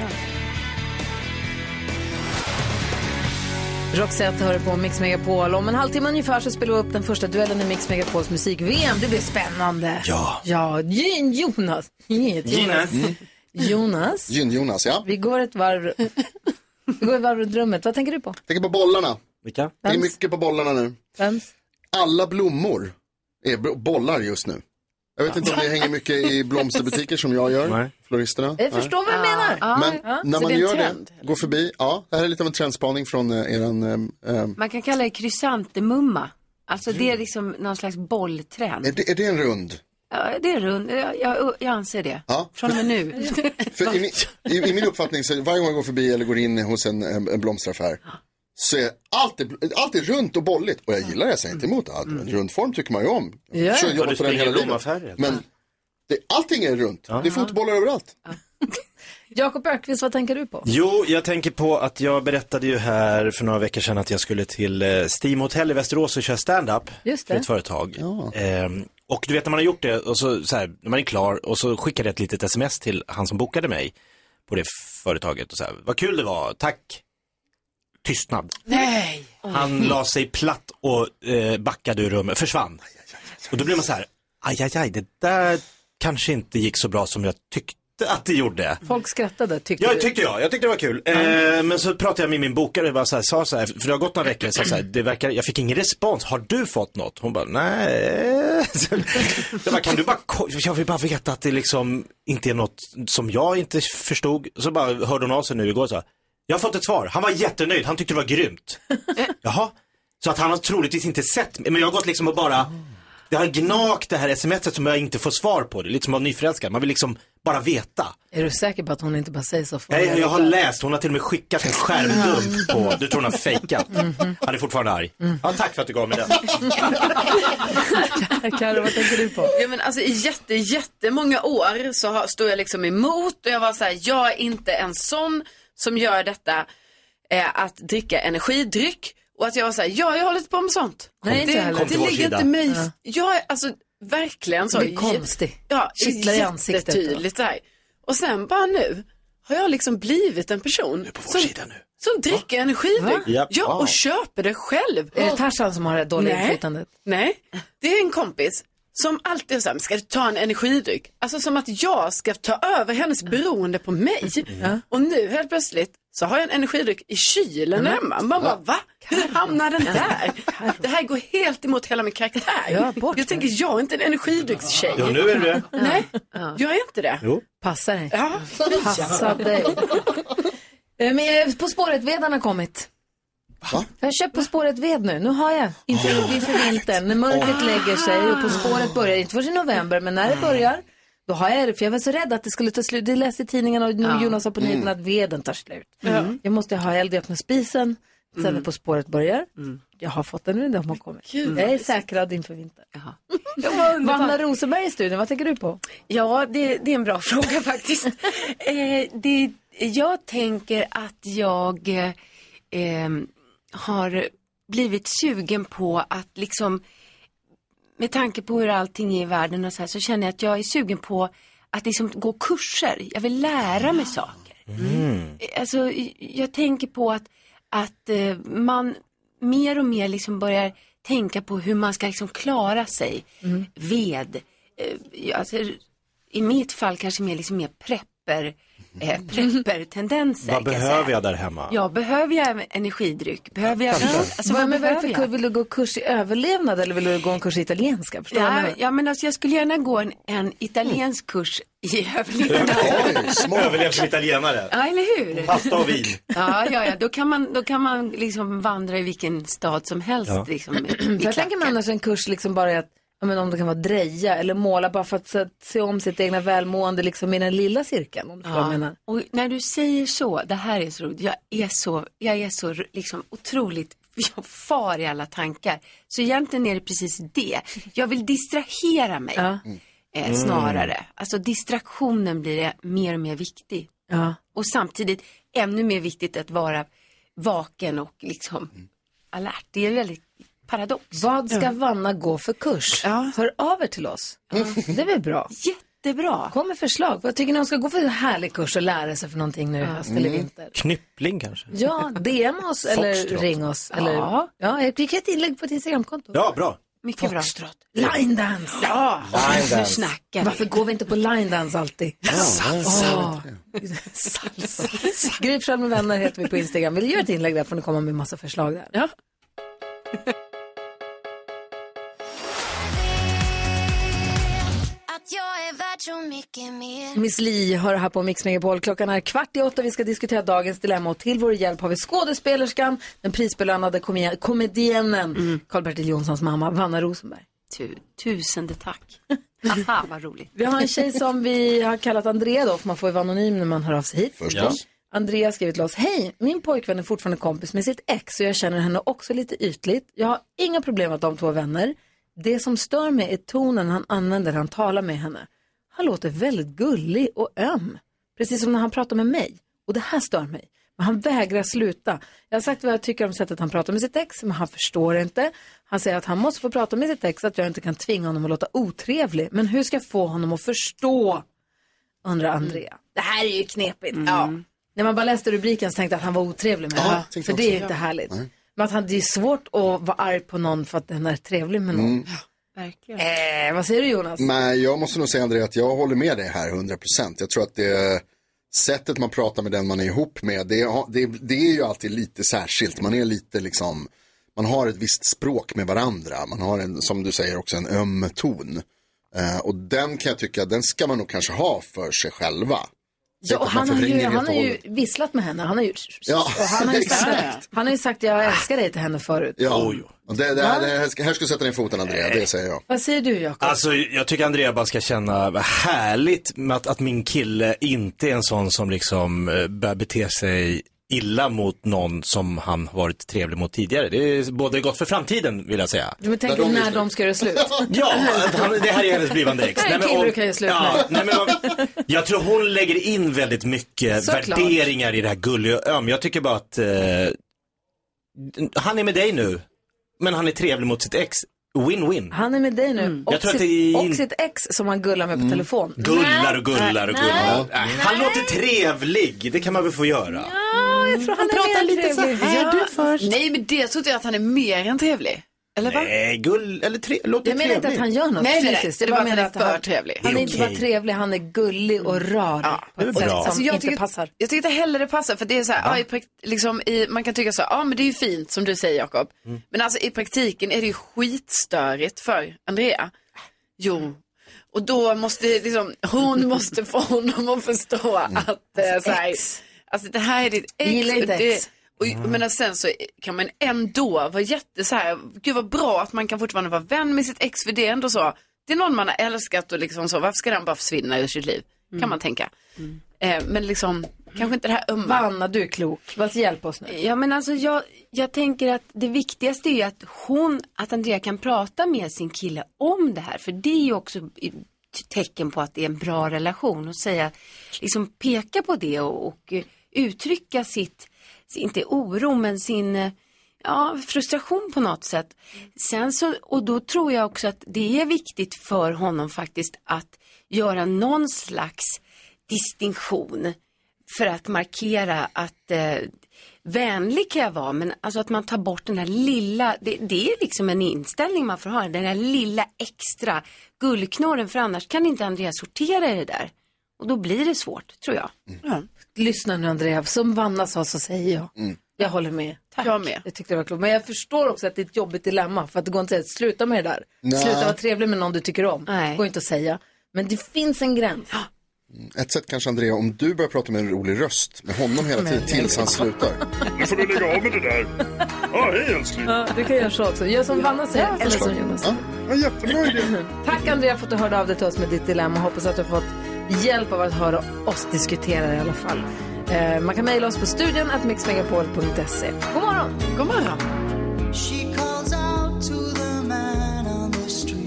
Roxette hör på Mix Megapol. Om en halvtimme ungefär så spelar vi upp den första duellen i Mix Megapols musik-VM. Det blir spännande. Ja. Ja, Gyn Jonas. Gyn Jonas. Mm. Jonas. Gyn-Jonas, ja. [LAUGHS] Vi går ett varv. Vi går ett varv runt rummet. Vad tänker du på? Tänker på bollarna. Vilka? Det är mycket på bollarna nu. Vems? Alla blommor är b- bollar just nu. Jag vet inte om det hänger mycket i blomsterbutiker som jag gör, floristerna. Jag Nej. förstår vad du menar. Men när man gör det, går förbi, ja, det här är lite av en trendspaning från eh, eran... ehm, ehm, Man kan kalla det krysantemumma. Alltså det är liksom någon slags bolltrend. är, det, är det en rund? Ja, det är rund. Jag, jag, jag anser det. Ja. Från och med [LAUGHS] nu. För i, min, i, I min uppfattning, så varje gång jag går förbi eller går in hos en, en, en blomsteraffär, så är allt, är- allt är runt och bolligt. Och jag gillar det, jag säger inte emot allt. En Mm. rund form tycker man ju om. Ja, Jag försöker ja. jobba Ja, det på spelar den hela ingen roll livet. affär, Men det, allting är runt. Det är fotbollar överallt. Jakob Ökvist, vad tänker du på? Jo, jag tänker på att jag berättade ju här för några veckor sedan att jag skulle till eh, Steam Hotel i Västerås och köra stand-up Just för det. ett företag. Ehm, och du vet när man har gjort det och så, så här, när man är klar och så skickade jag ett litet sms till han som bokade mig på det företaget och så här, vad kul det var, tack. Tystnad. Nej! Han Mm. la sig platt och eh, backade ur rummet, försvann. Och då blir man så här, aj, aj, aj, det där kanske inte gick så bra som jag tyckte att det gjorde. Folk skrattade tyckte Ja, du. det tyckte jag. Jag tyckte det var kul. Eh, men så pratade jag med min bokare och bara så här, sa så här, för det har gått några veckor, så så här, det verkar, jag fick ingen respons. Har du fått något? Hon bara, nej. [LAUGHS] Så Jag bara, kan du bara, ko- jag vill bara veta att det liksom inte är något som jag inte förstod. Så bara hörde hon av sig nu igår så här, jag har fått ett svar. Han var jättenöjd, han tyckte det var [LAUGHS] grymt. Jaha, så att han har troligtvis inte sett mig, men jag har gått liksom och bara det har gnagt det här smset som jag inte får svar på. Det är lite som att vara nyförälskad. Man vill liksom bara veta. Är du säker på att hon inte bara säger så? för Nej, jag har läst. Hon har till och med skickat en skärmdump på. Du tror hon har fejkat. Han är fortfarande arg. Ja, tack för att du gav mig den. [LAUGHS] Karo, vad tänker du på? Ja, men alltså, I jätte, jättemånga år så har- stod jag liksom emot och jag var så här, jag är inte en sån som gör detta, eh, att dricka energidryck. Och att jag var så här, ja jag håller inte på med sånt. Nej, inte jag det, heller. det, Kom till vår ligger sida. inte mig, Ja. jag är alltså verkligen så. Du är konstig. Ja, Kittlar i ansiktet då. jättetydligt så här. Och sen bara nu har jag liksom blivit en person som, som dricker energidryck. Va? Ja, Ja. och köper det själv. Är det Tarzan som har det dåliga Nej. inflytandet? Nej, det är en kompis som alltid är så här, "Men ska du ta en energidryck? Alltså som att jag ska ta över hennes beroende på mig. Och nu helt plötsligt så har jag en energidryck i kylen Mm. hemma. Man bara, va? Hur hamnar den där? Det här går helt emot hela min karaktär. Ja, bort jag tänker, jag är inte en energidryckstjej. Jo, nu är du det. Nej, jag är inte det. Jo. Passa dig. Ja. Passa dig. Eh, Men jag- På spåret-vedarna har kommit. Va? Jag har köpt På spåret-ved nu. Nu har jag. Inför, inför vintern, när mörkret lägger sig och På spåret börjar, inte förrän i november, men när det börjar, då har jag det. För jag var så rädd att det skulle ta slut. Det läste i tidningarna och nu Ja. Jonas sa på nyheterna att veden tar slut. Mm. Jag måste ha eld i öppna spisen, sen när Mm. På spåret börjar. Jag har fått den nu, de har kommit. Gud, jag är vad säkrad inför vintern. underbart. Vanna Rosenberg i studion, vad tänker du på? Ja, det, det är en bra [LAUGHS] fråga faktiskt. eh, det, jag tänker att jag eh, eh, har blivit sugen på att liksom, med tanke på hur allting är i världen och så här, så känner jag att jag är sugen på att liksom gå kurser. Jag vill lära mig saker. Alltså, jag tänker på att, att eh, man mer och mer liksom börjar tänka på hur man ska liksom klara sig. Ved. Eh, ja, alltså, I mitt fall kanske mer, liksom mer prepper, eh, prepper-tendenser. Mm. Vad kan jag behöver säga. jag där hemma? Ja, behöver jag energidryck? Behöver jag... Alltså, vad vad men behöver varför jag? vill du gå kurs i överlevnad eller vill du gå en kurs i italienska? Förstår du vad jag Ja, menar? ja, men alltså, jag skulle gärna gå en, en italiensk Mm. kurs i överlevnad. Överlev som italienare. Ja, eller hur? Pasta och vin. Ja, ja, ja. Då, kan man, då kan man liksom vandra i vilken stad som helst. Ja. Liksom, i För jag klack. tänker mig annars en kurs liksom bara i att, ja, men om det kan vara dreja eller måla bara för att se, se om sitt egna välmående liksom i den lilla cirkeln. Om du förstår vad jag menar. ja. Och när du säger så, det här är så roligt. Jag är så, jag är så liksom, otroligt, [LAUGHS] jag far i alla tankar. Så egentligen är det precis det. Jag vill distrahera mig eh, Mm. snarare. Alltså distraktionen blir det mer och mer viktig. Ja. Och samtidigt ännu mer viktigt att vara vaken och liksom alert. Det är en väldigt paradox. Vad ska Vanna gå för kurs? Hör av er till oss. Det är väl bra? Jättebra. Kom med förslag. Vad tycker ni hon ska gå för härlig kurs och lära sig för någonting nu i höst eller vinter? Mm. Knyppling kanske? Ja, DM [LAUGHS] oss eller Foxtrot. ring oss. Ja. Eller, ja. jag fick ett inlägg på ett Instagramkonto. Ja, bra. Mycket bra. Line dance. Ja, Line dance. nu snackar vi. Varför går vi inte på line dance alltid? Mm. salsa. Åh. [LAUGHS] Salsa. Gry Forssell med vänner heter vi på Instagram. Vill du göra ett inlägg där får ni komma med massa förslag där. Ja. Att jag är värd så mycket mer. Miss Li hör här på Mix Megapol. Klockan är kvart i åtta. Vi ska diskutera dagens dilemma och till vår hjälp har vi skådespelerskan, den prisbelönade komedi- komedienen Karl-Bertil Jonssons mamma, Vanna Rosenberg. Mm. Tu, tusende tack. Aha, vad roligt. Vi har en tjej som vi har kallat Andrea då, för man får ju vara anonym när man hör av sig hit. Förstås. Andrea har skrivit till oss, hej, min pojkvän är fortfarande kompis med sitt ex och jag känner henne också lite ytligt. Jag har inga problem med att de två är vänner. Det som stör mig är tonen han använder när han talar med henne. Han låter väldigt gullig och öm, precis som när han pratar med mig. Och det här stör mig. Men han vägrar sluta. Jag har sagt vad jag tycker om sättet han pratar med sitt ex, men han förstår inte. Han säger att han måste få prata med sitt ex, att jag inte kan tvinga honom att låta otrevlig. Men hur ska jag få honom att förstå? Undrar Andrea. Det här är ju knepigt. Ja. När man bara läste rubriken så tänkte jag att han var otrevlig med henne. tänkte För jag det är ju också. inte Ja. härligt. Men att han, det är svårt att vara arg på någon för att den är trevlig med någon. Mm. Verkligen. Eh, vad säger du Jonas? Men jag måste nog säga André att jag håller med dig här 100%. Jag tror att det sättet man pratar med den man är ihop med, det, det, det är ju alltid lite särskilt. Man är lite liksom, man har ett visst språk med varandra. Man har en, som du säger också, en öm ton. Eh, och den kan jag tycka, den ska man nog kanske ha för sig själva. Ja, och Att man han, har ju, förvränger han helt har och ju hållet. visslat med henne. Han har ju, Ja, och han, har ju exakt. sagt, han har ju sagt jag älskar dig till henne förut. Ja, och det, det, här, det här, ska- här ska du sätta ner foten Andrea, Eh. det säger jag. Vad säger du Jakob? Alltså jag tycker Andrea bara ska känna, vad härligt med att, att min kille inte är en sån som liksom eh, börjar bete sig illa mot någon som han varit trevlig mot tidigare. Det är både gott för framtiden vill jag säga. Du tänker när de ska göra slut? [LAUGHS] Ja, att han, det här är hennes blivande ex. Det här är en kille och- du kan göra slut ja, med. nej, men, vad- Jag tror hon lägger in väldigt mycket Såklart. värderingar i det här gulliga och öm. Jag tycker bara att eh, han är med dig nu, men han är trevlig mot sitt ex. Win-win. Han är med dig nu och, Jag tror att det sitt, är- Mm. och sitt ex som han gullar med på telefon. Gullar och gullar och Nej. gullar. Äh, Han låter trevlig, det kan man väl få göra. Ja, jag tror han, pratar mer lite så trevlig. här. Ja, Nej, men det tror inte jag att han är mer än trevlig. Eller va? Nej, gull, eller tre, låter Jag menar inte att han gör något nej, nej, fysiskt. Nej, det Jag var menar menar att att han är han- för trevlig. Mm. Han är inte bara trevlig, han är gullig och rar på ett sätt som Alltså, jag inte tycker, passar. Jag tycker inte heller det passar, för det är så här, ja. i prakt, liksom, i, man kan tycka så här, ja men det är ju fint som du säger Jakob. Men alltså i praktiken är det ju skitstörigt för Andrea. Jo. Och då måste liksom, [LAUGHS] hon måste få honom att förstå att eh, så här, alltså det här är ditt ex. Jag Mm. gillar inte och det- ex. Mm. Och, men alltså, sen så kan man ändå vara jätte så här, gud vad bra att man kan fortfarande vara vän med sitt ex för det är ändå så, det är någon man har älskat och liksom så, varför ska den bara försvinna ur sitt liv? Mm. Kan man tänka. Eh, men liksom, kanske inte det här ömma. Vanna, du är klok. Vad hjälp oss nu. Ja men alltså jag, jag tänker att det viktigaste är ju att hon, att Andrea kan prata med sin kille om det här. För det är ju också i- tecken på att det är en bra relation och säga, liksom peka på det och, och eh, uttrycka sitt, sin- inte oro men sin eh, ja, frustration på något sätt. Sen så, och då tror jag också att det är viktigt för honom faktiskt att göra någon slags distinktion för att markera att eh, vänlig kan jag vara, men alltså att man tar bort den här lilla, det, det är liksom en inställning man får ha, den här lilla extra gullknorren, för annars kan inte Andreas sortera i det där. Och då blir det svårt, tror jag. Lyssna nu Andrea, som Vanna sa så säger jag. Jag håller med. Tack. Jag med. Jag tyckte det var klokt. Men jag förstår också att det är ett jobbigt dilemma. För att det går inte att säga, sluta med det där. Nej. Sluta vara trevlig med någon du tycker om. Det går inte att säga. Men det finns en gräns. Ett sätt kanske Andrea, om du börjar prata med en rolig röst med honom hela tiden tills han slutar. Nu får du lägga av med det där. Ja, hej älskling. Ja, du kan göra så också. Gör som Vanna säger, Ja, eller förstår. som Jonas säger. jättebra idé. [LAUGHS] Tack Andrea för att du hörde av dig till oss med ditt dilemma. Hoppas att du har fått hjälp av att höra oss diskutera i alla fall. Eh, man kan mejla oss på studion at mixmegapol.se. God morgon! God morgon! She calls out to the man on the street.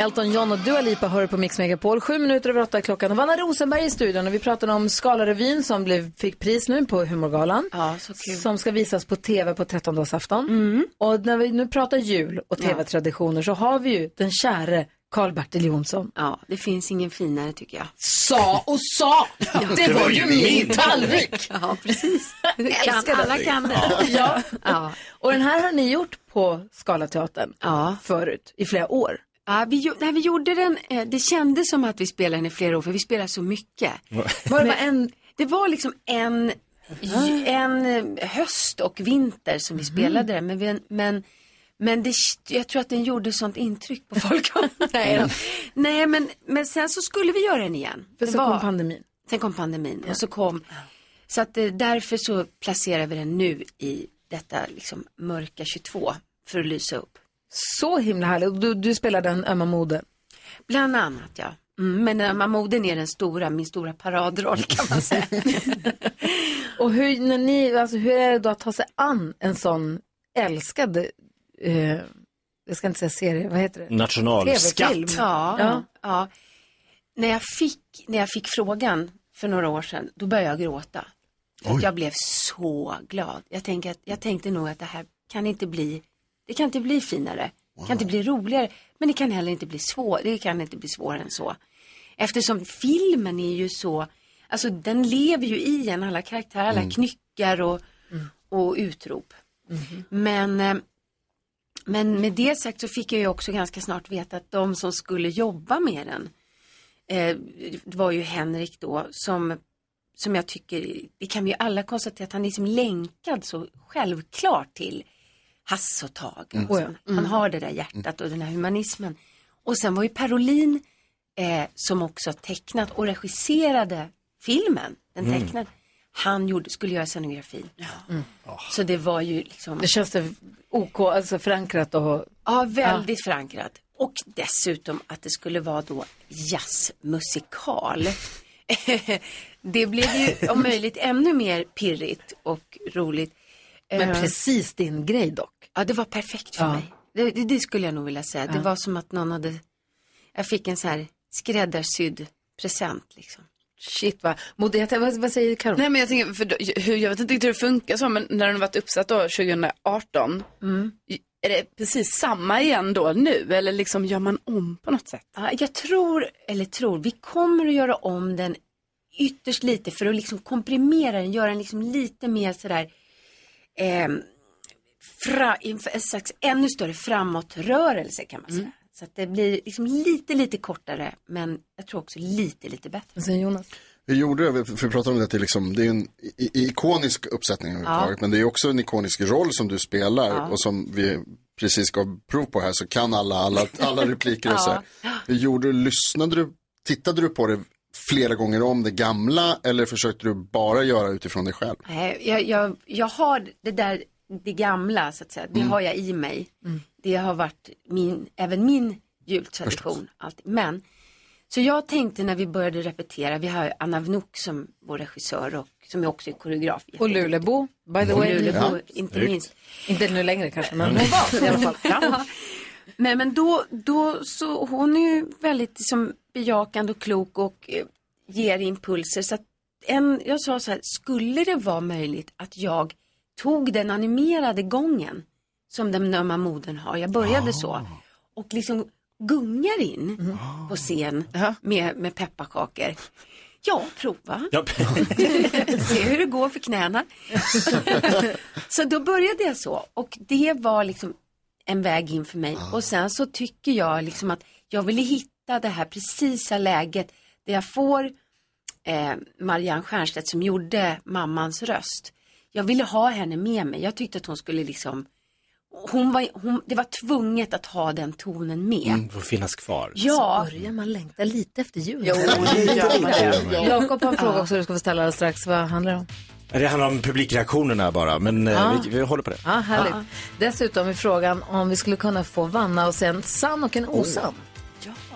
Elton John och Dua Lipa hör på Mix Megapol. Sju minuter över åtta är klockan. Och Vanna Rosenberg i studion. Och vi pratade om Skalarevyn som blev, fick pris nu på Humorgalan. Som ska visas på tv på trettondagsafton. Och när vi nu pratar jul och tv-traditioner så har vi ju den käre Karl-Bertil Jonsson. Ja, det finns ingen finare tycker jag. Sa och sa! Det var ju min tallrik! Ja, precis. Jag Kan, älskar den. alla kan det. Ja. Och den här har ni gjort på Skalateatern förut i flera år. Ja, vi, gjo- när vi gjorde den, eh, det kändes som att vi spelade den i flera år, för vi spelar så mycket. Var det bara en? Det var liksom en J- En eh, höst och vinter som Mhm. vi spelade det. Men, vi, men, men det, jag tror att den gjorde sånt intryck på [LAUGHS] folk. Nej, då. Nej men, men sen så skulle vi göra den igen. Mm. För Det så kom pandemin. Sen kom pandemin och så kom. Så att eh, därför så placerar vi den nu i detta liksom mörka 22 för att lysa upp. Så himla härligt. Du, du spelar den ömma moden. Bland annat ja. Mm, men Amma Moden är den stora, min stora paradroll kan man säga. Och hur, när ni, alltså, hur är det då att ta sig an en sån älskad, eh, jag ska inte säga serie, vad heter det? Nationalskatt. Ja, Ja. ja. När, jag fick, när jag fick frågan för några år sedan, då började jag gråta. För att jag blev så glad. Jag, tänker att, jag tänkte nog att det här kan inte bli, det kan inte bli finare. Det kan inte bli roligare, men det kan heller inte bli svår, det kan inte bli svårare än så. Eftersom filmen är ju så, alltså den lever ju i en, alla karaktärer, alla Mm. knyckar och, och utrop. Men, eh, men med det sagt så fick jag ju också ganska snart veta att de som skulle jobba med den eh, det var ju Henrik då som, som jag tycker, det kan vi ju alla konstatera att han är liksom länkad så självklart till Hasse och Tage. Mm. Och sån. Han har det där hjärtat och den här humanismen. Och sen var ju Parolin eh, som också har tecknat och regisserade filmen, den Mm. tecknade. Han gjorde, skulle göra scenografin. Så det var ju liksom... Det känns det OK, alltså förankrat och... Ja, väldigt förankrat. Och dessutom att det skulle vara då jazzmusikal. [LAUGHS] det blev ju om möjligt ännu mer pirrigt och roligt. Men Eh, precis din grej dock. Ja, det var perfekt för Ja. mig. Det, det, det skulle jag nog vilja säga. Det Ja. var som att någon hade, jag fick en så här skräddarsydd present liksom. Shit va. Modeta, vad, vad säger Karo? Nej men jag tänker, för, då- hur, jag vet inte riktigt hur det funkar så, men när den har varit uppsatt då 2018, Mm. är det precis samma igen då nu? Eller liksom gör man om på något sätt? Ja, jag tror, eller tror, vi kommer att göra om den ytterst lite för att liksom komprimera den, göra den liksom lite mer sådär eh, fra, inför en slags ännu större framåtrörelse kan man Mm. säga. Så att det blir liksom lite, lite kortare men jag tror också lite, lite bättre. Sen Jonas? Hur gjorde du? För vi pratade om det, att det, är liksom, det är en i- i- ikonisk uppsättning överhuvudtaget. Ja. Men det är också en ikonisk roll som du spelar Ja. och som vi precis gav prov på här så kan alla, [LAUGHS] alla, alla repliker och så här. Ja. Hur gjorde du? Lyssnade du? Tittade du på det flera gånger om det gamla eller försökte du bara göra utifrån dig själv? Nej, Eh, jag, jag, jag har det där, det gamla så att säga, det Mm. har jag i mig. Det har varit min, även min jultradition. Alltid. Men, så jag tänkte när vi började repetera, vi har ju Anna Vnuk som vår regissör och som är också är koreograf. Och Lulebo, by the Och way. Lulebo, Mm. Ja. inte Snyggt. minst. Inte nu längre kanske, men hon var det Alltså, i alla fall. Ja. [LAUGHS] Nej men då, då så hon är ju väldigt liksom, bejakande och klok och eh, ger impulser. Så att en, jag sa så här, skulle det vara möjligt att jag tog den animerade gången som den ömma moden har, jag började så, och liksom gungar in på scen med, med pepparkakor. Ja, prova. Ja. [LAUGHS] Se hur det går för knäna. så då började jag så och det var liksom en väg in för mig. Och sen så tycker jag liksom att jag ville hitta det här precisa läget där jag får eh, Marianne Stiernstedt som gjorde mammans röst. Jag ville ha henne med mig. Jag tyckte att hon skulle liksom, hon var, hon, det var tvunget att ha den tonen med. Mm, får finnas kvar. Ja. Så börjar man längta lite efter jul. Jo, det gör man. Jakob har en fråga Ja. också du ska få ställa alldeles strax. Vad handlar det om? Det handlar om publikreaktionerna bara, men eh, Ja. vi, vi håller på det. Ja, härligt. Dessutom är frågan om vi skulle kunna få Vanna och sen sann och en Oh. osann.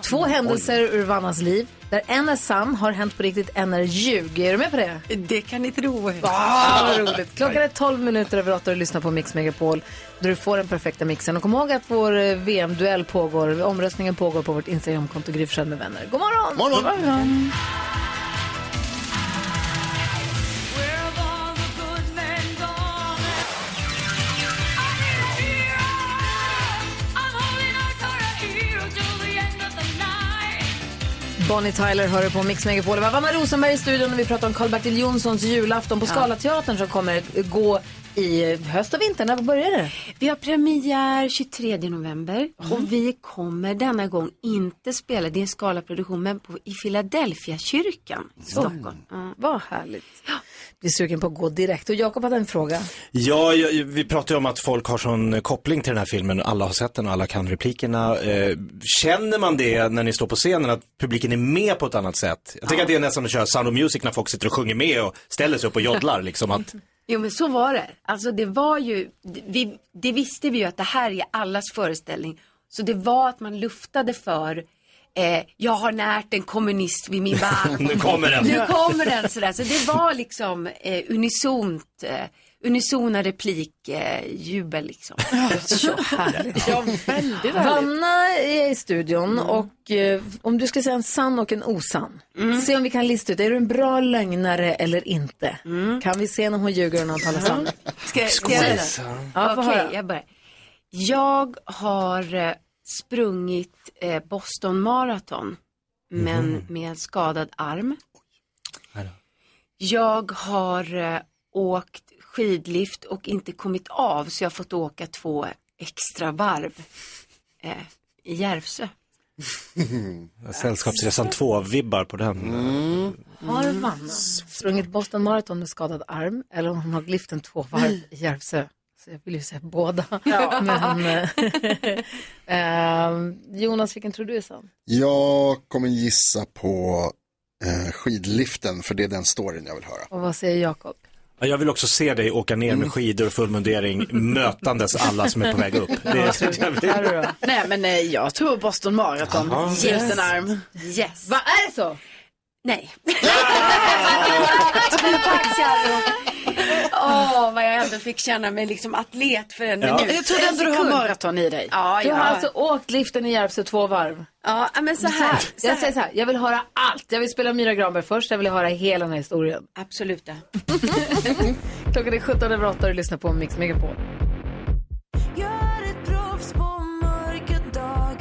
Två händelser ur Vannas liv, där en är sann, har hänt på riktigt, en är ljug. Är du med på det? Det kan ni tro. Ah, vad roligt. Klockan är 12 minuter över 8 och du lyssnar på Mix Megapol där du får den perfekta mixen. Och kom ihåg att vår eh, VM-duell pågår, omröstningen pågår på vårt Instagramkonto Gry Forssell med vänner. God morgon! Morgon. God Bonnie Tyler hör du på Mix Megapol. Det var Vanna Rosenberg i studion och vi pratar om Carl-Bertil Jonssons julafton på Scalateatern som kommer gå i höst och vinter? När börjar det? Vi har premiär 23 november Mm. och vi kommer denna gång inte spela, det är en skalaproduktion, men på, i Philadelphia kyrkan i Stockholm. Mm. Vad härligt. Blir sugen på att gå direkt. Och Jakob hade en fråga. Ja, jag, vi pratar ju om att folk har sån koppling till den här filmen. Alla har sett den och alla kan replikerna. Eh, känner man det när ni står på scenen, att publiken är med på ett annat sätt? Jag tänker att det är nästan att köra Sound of Music när folk sitter och sjunger med och ställer sig upp och joddlar. Liksom, att, Jo men så var det. Alltså det var ju, vi, det visste vi ju att det här är allas föreställning. Så det var att man luftade för, eh, jag har närt en kommunist vid min barm. [LAUGHS] Nu kommer den. Nu kommer den sådär. Så det var liksom eh, unisont, eh, unisona replik, eh, jubel liksom. Så [LAUGHS] härligt. Vanna är i studion och eh, om du ska säga en sann och en osann. Se om vi kan lista ut, är du en bra lögnare eller inte? Kan vi se när hon ljuger och när hon talar sanning? Ska, ska jag säga Ja, få Okej, höra. jag börjar. Jag har eh, sprungit eh, Boston Marathon, men Mhm. med en skadad arm. Aj då. Jag har eh, åkt skidlift och inte kommit av, så jag har fått åka två extra varv eh, i Järvsö. Mm. Sällskapsresan 2-vibbar på den. Har Vanna sprungit Boston Marathon med skadad arm eller om hon har liften två varv i Järvsö? Så jag vill ju säga båda. Ja. Men, [LAUGHS] eh, eh, Jonas, vilken tror du är sann? Jag kommer gissa på eh, skidliften för det är den storyn jag vill höra. Och vad säger Jakob? Ja, Jag vill också se dig åka ner med skidor och full mundering, mötandes alla som är på väg upp. [LAUGHS] Det är så jag vill. Nej, men eh, jag tror Boston Marathon. Jaha. Yes. Yes. en arm. Yes. Vad är det så? Nej. Tack Sally. Åh, vad jag ändå fick känna mig liksom atlet för en Ja. minut. Jag trodde ändå du har maraton i dig. Ja, Du ja. har alltså åkt liften i Järvsö två varv? Ja, men så här. Så Jag här. säger så här, jag vill höra allt. Jag vill spela Myra Granberg först, jag vill höra hela den här historien. Absolut. det. [LAUGHS] Klockan är 17 över 8 och du lyssnar på Mix Megapol. Gör ett proffs på mörka dagar.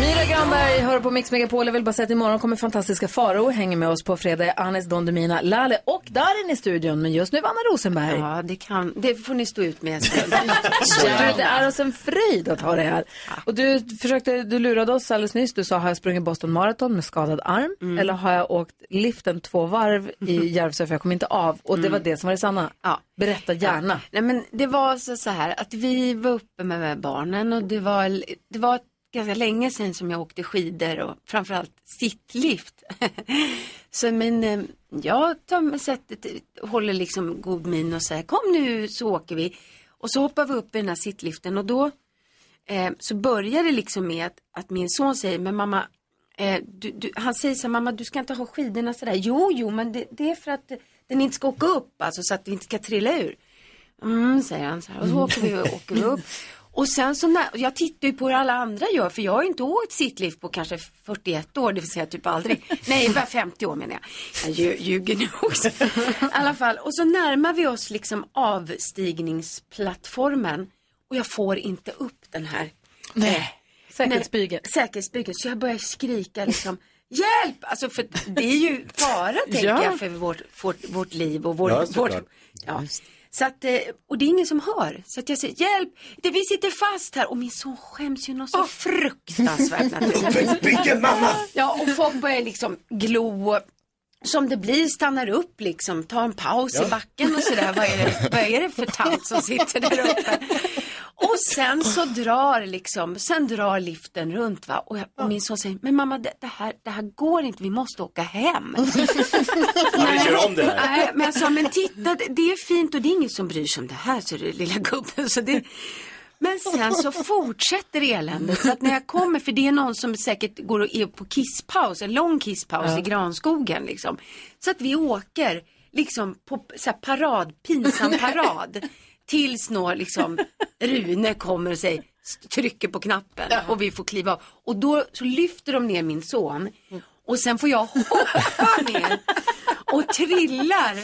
Myra Granberg hör på Mix Megapol. Jag vill bara säga att imorgon kommer fantastiska faror hänger med oss på fredag. Anis Don Demina, Laleh och Darin i studion. Men just nu Anna Rosenberg. Ja, det, kan, det får ni stå ut [LAUGHS] med. Ja, det är oss en fröjd att ha dig här. Och du, försökte, du lurade oss alldeles nyss. Du sa, har jag sprungit Boston Marathon med skadad arm? Mm. Eller har jag åkt liften två varv i Järvsö för jag kom inte av? Och det var Mm. det som var det sanna. Berätta gärna. Nej, men det var så, så här att vi var uppe med, med barnen och det var, det var ganska länge sedan som jag åkte skidor och framförallt sittlift. [LAUGHS] så men eh, jag tar mig sättet, håller liksom god min och säger kom nu så åker vi. Och så hoppar vi upp i den här sittliften och då eh, så börjar det liksom med att, att min son säger men mamma Eh, du, du, han säger så här, mamma du ska inte ha skidorna sådär. Jo, jo, men det, det är för att den inte ska åka upp, alltså så att den inte ska trilla ur. Mm, säger han så här. Och så åker vi och åker upp. Och sen så när, jag tittar ju på hur alla andra gör, för jag har ju inte åkt sittlift på kanske 41 år, det vill säga typ aldrig. Nej, bara 50 år menar jag. Jag lju- ljuger nu också. I alla fall, och så närmar vi oss liksom avstigningsplattformen. Och jag får inte upp den här. Nej. Säkerhetsbygeln. Säkerhetsbygeln. Så jag börjar skrika liksom. Hjälp! Alltså för det är ju fara tänker Ja. jag för vårt, vårt, vårt liv och vår, Ja, vårt, såklart. ja. Så att, eh, och det är ingen som hör. Så att jag säger hjälp, det, vi sitter fast här. Och min son skäms ju något så fruktansvärt naturligtvis. Bygge, mamma! Ja, och folk börjar liksom glo. och Som det blir, stannar upp liksom, tar en paus Ja. i backen och sådär. Vad är, det, vad är det för tant som sitter där uppe? Och sen så drar liksom, sen drar liften runt va. Och, jag, och min son säger, men mamma det, det, här, det här går inte, vi måste [LAUGHS] åka hem. vi kör om det här. Nej, men jag sa, men titta, det- det är fint och det är ingen som bryr sig om det här, så det lilla gubben. Så det... Men sen så fortsätter eländet. Så att när jag kommer, för det är någon som säkert går och är på kisspaus, en lång kisspaus Ja. i granskogen liksom. Så att vi åker liksom på så här, parad, pinsam parad. Tills nå liksom Rune kommer och säger, trycker på knappen och vi får kliva av. Och då så lyfter de ner min son. Och sen får jag hoppa ner och trillar.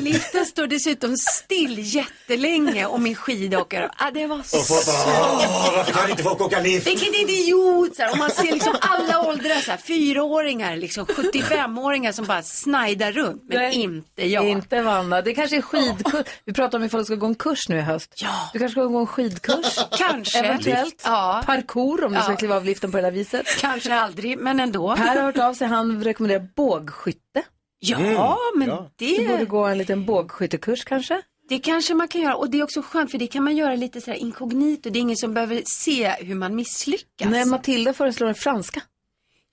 Liften står dessutom still jättelänge och min skidåkare, ah, det var Och folk bara, så... "Åh, varför kan inte folk åka lift? Vilken idiot! Så här, och man ser liksom alla åldrar, så här, fyraåringar, liksom 75-åringar som bara snajdar runt. Men Nej. inte jag. Inte Vanna. Det kanske är skidkurs. [LAUGHS] Vi pratar om ifall du ska gå en kurs nu i höst. Ja. Du kanske ska gå en skidkurs. [LAUGHS] Kanske. Eventuellt. Lift. Ja. Parkour om du Ja. ska kliva av liften på det där viset. Kanske aldrig, men ändå. Per har hört av sig. Han rekommenderar bågskytte. Ja, Mm, men ja. det- Du borde gå en liten bågskyttekurs kanske. Det kanske man kan göra och det är också skönt för det kan man göra lite så här inkognito. Det är ingen som behöver se hur man misslyckas. Nej, Matilda föreslår en franska.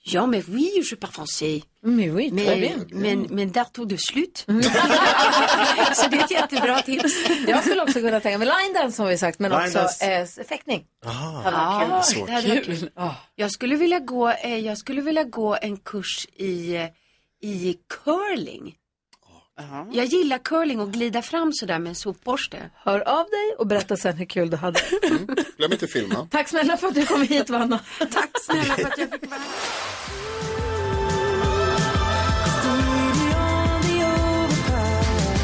Ja, men oui, je suis pas français. Mais oui, très men, bien. Mm. men, men där tog det slut. [LAUGHS] så det är ett jättebra tips. Jag skulle också kunna tänka mig line dance som vi sagt, men Line också dance. eh, s- fäktning. Ah, hade varit kul. det hade Så varit kul. kul. Jag skulle vilja gå, eh, jag skulle vilja gå en kurs i, eh, i curling. Jag gillar curling och glida fram sådär med en sopborste. Hör av dig och berätta sen hur kul du hade. Glöm inte filma. Tack snälla för att du kom hit, Vanna. Tack snälla för att jag fick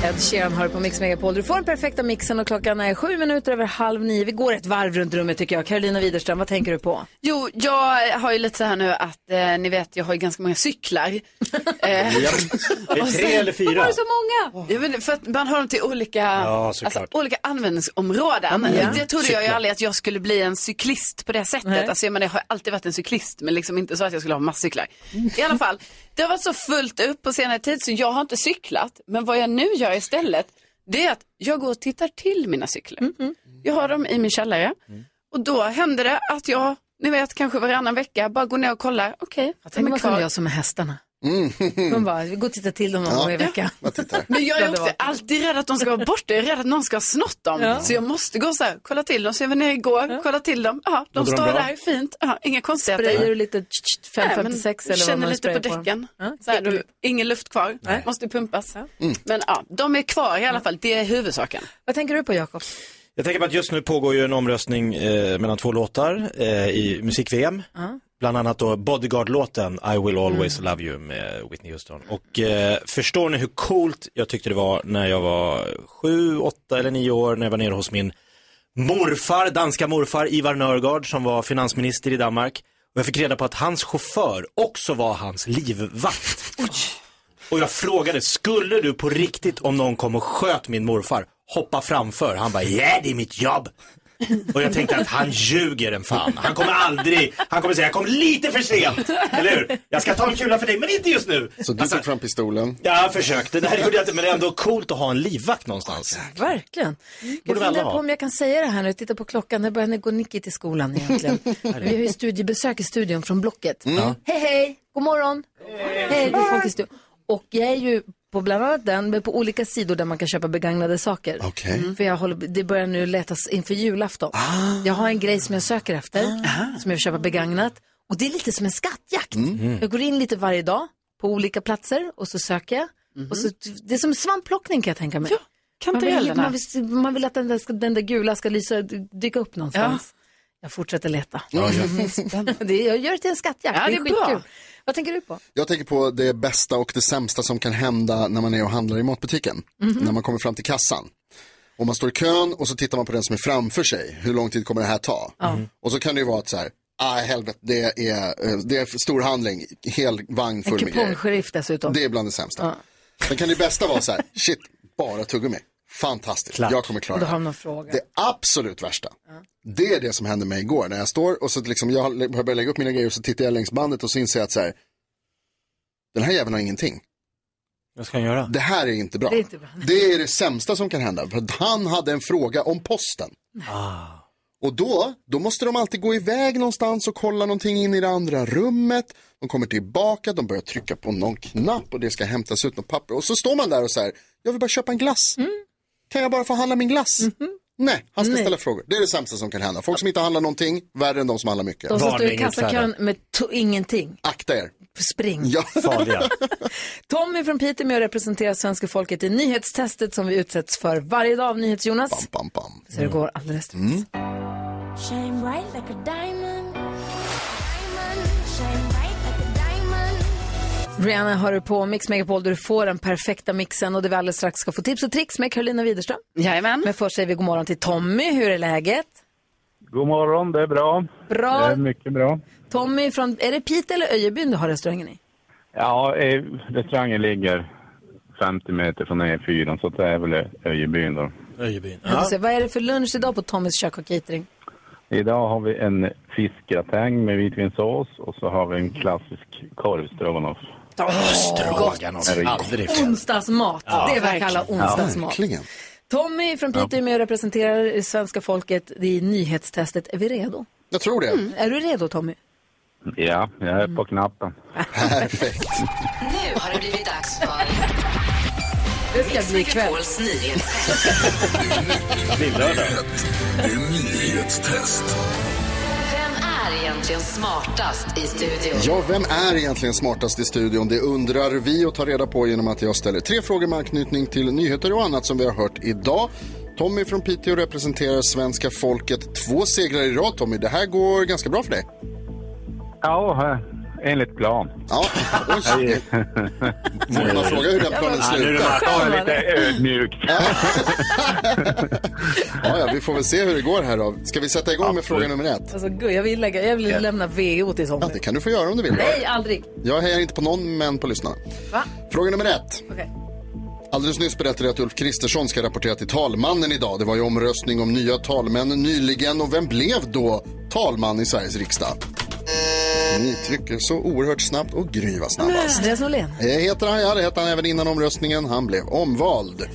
Ed Sheeran hör på Mix Megapol. Du får den perfekta mixen och klockan är sju minuter över halv nio. Vi går ett varv runt rummet tycker jag. Carolina Widerström, vad tänker du på? Jo, jag har ju lite så här nu att eh, ni vet, jag har ju ganska [LAUGHS] många cyklar. Eh, Är det tre och sen- eller fyra? så många? Jag vet, inte, för att man har dem till olika, Ja, alltså, såklart. olika användningsområden. Ja, Det trodde jag ju cyklar. aldrig att jag skulle bli en cyklist på det sättet. Nej. Alltså, jag, menar, jag har alltid varit en cyklist men liksom inte så att jag skulle ha massa cyklar. I alla fall, det har varit så fullt upp på senare tid så jag har inte cyklat. Men vad jag nu gör istället det är att jag går och tittar till mina cyklar. Jag har dem i min källare. Mm. Och då händer det att jag, ni vet kanske varannan vecka, bara går ner och kollar. Okej, Tänk om de är man kunde kvar. göra som med hästarna. Mm. Man bara, vi går och tittar till dem någon gång i veckan. Men jag Det är hade också varit- alltid rädd att de ska vara borta. Jag är rädd att någon ska ha snott dem. Ja. Så jag måste gå så här, kolla till dem. Så jag var nere igår, kolla till dem. Ja, de Mådde de står bra? där, fint. Ja, inga konstigheter. Sprayar du lite tsch, tsch, Nej, men 556 eller vad Känner man lite på sprayar på dem? däcken. Så här, då, ingen luft kvar, måste pumpas. Mm. Men ja, de är kvar i alla fall, det är huvudsaken. Vad tänker du på Jakob? Jag tänker på att just nu pågår ju en omröstning eh, mellan två låtar eh, i musik-VM. Ja. Bland annat då Bodyguard-låten I will always love you med Whitney Houston. Och eh, förstår ni hur coolt jag tyckte det var när jag var sju, åtta eller nio år när jag var nere hos min morfar, danska morfar Ivar Nörgaard som var finansminister i Danmark. Och jag fick reda på att hans chaufför också var hans livvakt. Och jag frågade, skulle du på riktigt om någon kom och sköt min morfar hoppa framför? Han bara, ja det är mitt jobb. Och jag tänkte att han ljuger en fan. Han kommer aldrig, han kommer säga jag kom lite för sent. Eller hur? Jag ska ta en kula för dig men inte just nu. Så du tog fram pistolen? Ja, jag försökte. Det här gjorde jag inte men det är ändå coolt att ha en livvakt någonstans. Verkligen. Mm. Jag Borde vi alla funderar ha? på om jag kan säga det här nu. Titta på klockan, när börjar ni gå Nicky till skolan [LAUGHS] egentligen? Vi har ju studiebesök i studion från Blocket. Mm. Ja. Hej, hej, god morgon. Hej, det är folk i studion. Och jag är ju på bland annat den, men på olika sidor där man kan köpa begagnade saker. Okej. Mm. För jag håller, det börjar nu letas inför julafton. Ah. Jag har en grej som jag söker efter, som jag vill köpa begagnat. Och det är lite som en skattjakt. Mm. Jag går in lite varje dag på olika platser och så söker jag. Mhm. Och så, det är som svampplockning kan jag tänka mig. man, vill, kantarellerna. man, vill, man vill att den där, ska, den där gula ska lysa, dyka upp någonstans. Jag fortsätter leta. Ja, ja. [LAUGHS] det, jag gör det till en skattjakt. Ja, det är det är bra. skitkul. Vad tänker du på? Jag tänker på det bästa och det sämsta som kan hända när man är och handlar i matbutiken. Mhm. När man kommer fram till kassan. Och man står i kön och så tittar man på den som är framför sig. Hur lång tid kommer det här ta? Och så kan det ju vara att så här, ah helvete, det är, eh, det är stor handling, hel vagn En full med grejer. kupongsheriff dessutom. Det är bland det sämsta. Sen kan det bästa vara så här, shit, bara tuggummi. Fantastiskt, jag kommer klara Då det har här. man en fråga. Det absolut värsta, Ah. det är det som hände mig igår när jag står och så liksom, jag har börjat lägga upp mina grejer och så tittar jag längs bandet och så inser jag att så här, den här jäveln har ingenting. Vad ska han göra? Det här är inte bra. Det är inte bra. Det är det sämsta som kan hända, för att han hade en fråga om posten. Ah. Och då, då måste de alltid gå iväg någonstans och kolla någonting in i det andra rummet. De kommer tillbaka, de börjar trycka på någon knapp och det ska hämtas ut något papper. Och så står man där och så här, jag vill bara köpa en glass. Mm. Kan jag bara få handla min glass? Mm-hmm. Nej, han ska ställa frågor. Det är det sämsta som kan hänända. Folk som inte handlar någonting, värre än de som handlar mycket. De som står i kassakön med to- ingenting. Akta er. Spring. Ja. Farliga. [LAUGHS] Tommy från Piteå är med och representerar svenska folket i nyhetstestet som vi utsätts för varje dag av NyhetsJonas. Bam, bam, bam. Mm. Så det går alldeles strax. Shine bright like a diamond. Diamond, shine bright like a diamond. Rihanna har du på Mix Megapol där du får den perfekta mixen och det vi alldeles strax ska få tips och tricks med Carolina Widerström. Jajamän. Men först säger vi god morgon till Tommy. Hur är läget? God morgon, det är bra. Bra. Det är mycket bra. Tommy från, är det Piteå eller Öjebyn du har restaurangen i? Ja, eh, restaurangen ligger 50 meter från E4, så det är väl Ö- Öjebyn då. Öjebyn. Jag får se, Vad är det för lunch idag på Tommys kök och catering? Idag har vi en fiskgratäng med vitvinsås och så har vi en klassisk korv stroganoff. Stroganoff, aldrig fel. Onsdagsmat. Ja, det är vad jag kallar verkligen. onsdagsmat. Ja, verkligen. Tommy från Piteå är med och representerar svenska folket i nyhetstestet. Är vi redo? Jag tror det. Mm. Är du redo Tommy? Ja, jag är på knappen. Perfekt. Nu har det blivit dags för Det ska bli kväll. Megapols nyhetstest. [LAUGHS] er Lillördag. Nyhetstest. Vem är egentligen smartast i studion? [LAUGHS] Ja, vem är egentligen smartast i studion? Det undrar vi och tar reda på genom att jag ställer tre frågor med anknytning till nyheter och annat som vi har hört idag. Tommy från Piteå representerar svenska folket. Två segrar i rad, Tommy. Det här går ganska bra för dig. Ja, eh, enligt plan. Ja, [LAUGHS] oj. Vågar man fråga hur den planen Ja, nu är det slutar? bara- Ta det lite ödmjukt. Ja, ja, vi får väl se hur det går här då. Ska vi sätta igång med fråga nummer ett? Alltså, gud, jag vill, lägga, jag vill Ja. lämna VO till Tommy. Ja, det kan du få göra om du vill. Nej, aldrig. Jag hejar inte på någon, men på lyssnarna. Va? Fråga nummer ett. Okej. Alldeles nyss berättade jag att Ulf Kristersson ska rapportera till talmannen idag. Det var ju omröstning om nya talmän nyligen och vem blev då talman i Sveriges riksdag? Ni trycker så oerhört snabbt och gryva er snabbast. Andreas Norlén. Eh, Heter han, ja det hette han även innan omröstningen. Han blev omvald.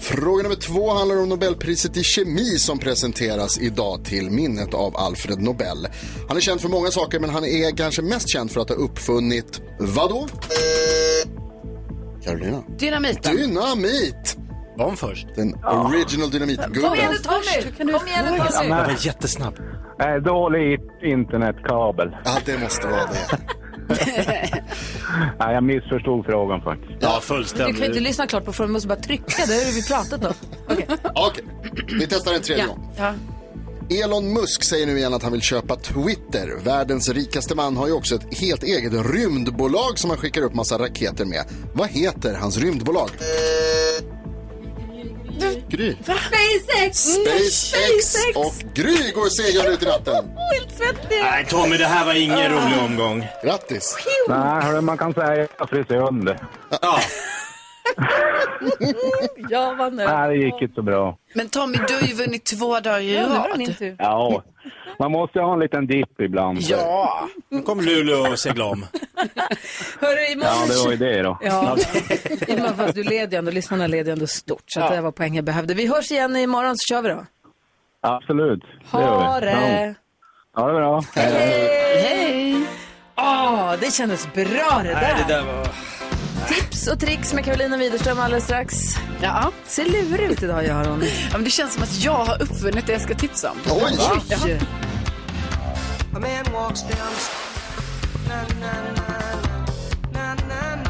Fråga nummer två handlar om Nobelpriset i kemi som presenteras idag till minnet av Alfred Nobel. Han är känd för många saker men han är kanske mest känd för att ha uppfunnit vadå? Carolina. Dynamiten. Dynamit! Kom först. Den original dynamiten. Kom igen nu Tommy! Kom igen nu Ja, men- Tommy! var jättesnabb. [LAUGHS] Eh, Dålig internetkabel. Ja, det måste vara det. Nej, jag missförstod frågan faktiskt. Ja, Du kan ju inte lyssna klart på frågan, du måste bara trycka. Det har vi pratat om. Okej, vi testar en tredje Ja. gång. Elon Musk säger nu igen att han vill köpa Twitter. Världens rikaste man har ju också ett helt eget rymdbolag som han skickar upp massa raketer med. Vad heter hans rymdbolag? Gry. SpaceX! SpaceX och Gry går segrande ut i natten. [LAUGHS] Helt svettig. Nej Tommy, det här var ingen rolig omgång. Grattis. Nej, hörru, man kan säga frisören det. Jag var nöjd. Nej, det gick inte så bra. Men Tommy, du har ju vunnit två dagar i Ja, nu var det rad. min tur. Ja, man måste ha en liten dipp ibland. Ja. Nu kom Luleå och seglade om. Hörru, Ja, imorgon... det var ju det då. [LAUGHS] Ja, imorgon, fast du leder ju ändå, lyssnarna leder ju ändå stort. Så att det där var poäng jag behövde. Vi hörs igen imorgon så kör vi då. Absolut. det gör vi. Ha det! Ja, det är bra. Hej! Åh, det kändes bra det där. Nej, det där var... Tips och tricks med Carolina Widerström alldeles strax. Ja. Ser lurig ut idag gör hon. Ja, men det känns som att jag har uppfunnit det jag ska tipsa om. Oj! Oj. A man walks down. Na, na, na, na, na, na, na.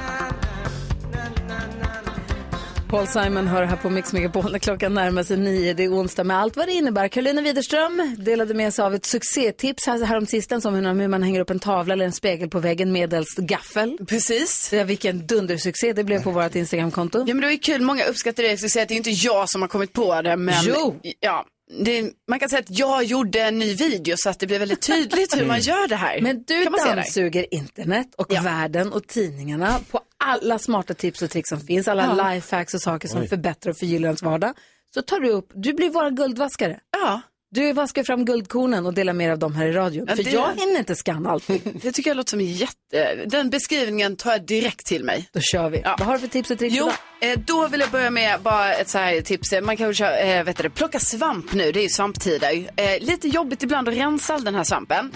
Paul Simon hör här på Mix Megapol när klockan närmar sig nio. Det är onsdag med allt vad det innebär. Carolina Widerström delade med sig av ett succétips här, häromsistens om hur hur man hänger upp en tavla eller en spegel på väggen medelst gaffel. Precis. Ja, vilken dundersuccé det blev på vårt Instagramkonto. Ja, men det var ju kul. Många uppskattar det. Jag skulle säga att det är inte jag som har kommit på det, men Jo. Ja, det, man kan säga att jag gjorde en ny video så att det blir väldigt tydligt hur man gör det här. Mm. Men du kan man se det? dammsuger internet och världen och tidningarna på alla smarta tips och tricks som finns, alla Ja. lifehacks och saker som Oj. förbättrar och förgyller ens vardag. Så tar du upp, du blir vår guldvaskare. Ja. Du vaskar fram guldkornen och delar mer av dem här i radion. Ja, För det- jag hinner inte skanna allting. [LAUGHS] Det tycker jag låter som en jätte... Den beskrivningen tar jag direkt till mig. Då kör vi. Vad har du för tips och tricks Jo, idag? eh, då vill jag börja med bara ett så här tips. Man kan väl köra, eh, vet du, det, plocka svamp nu, det är ju svamptider. Eh, lite jobbigt ibland att rensa all den här svampen.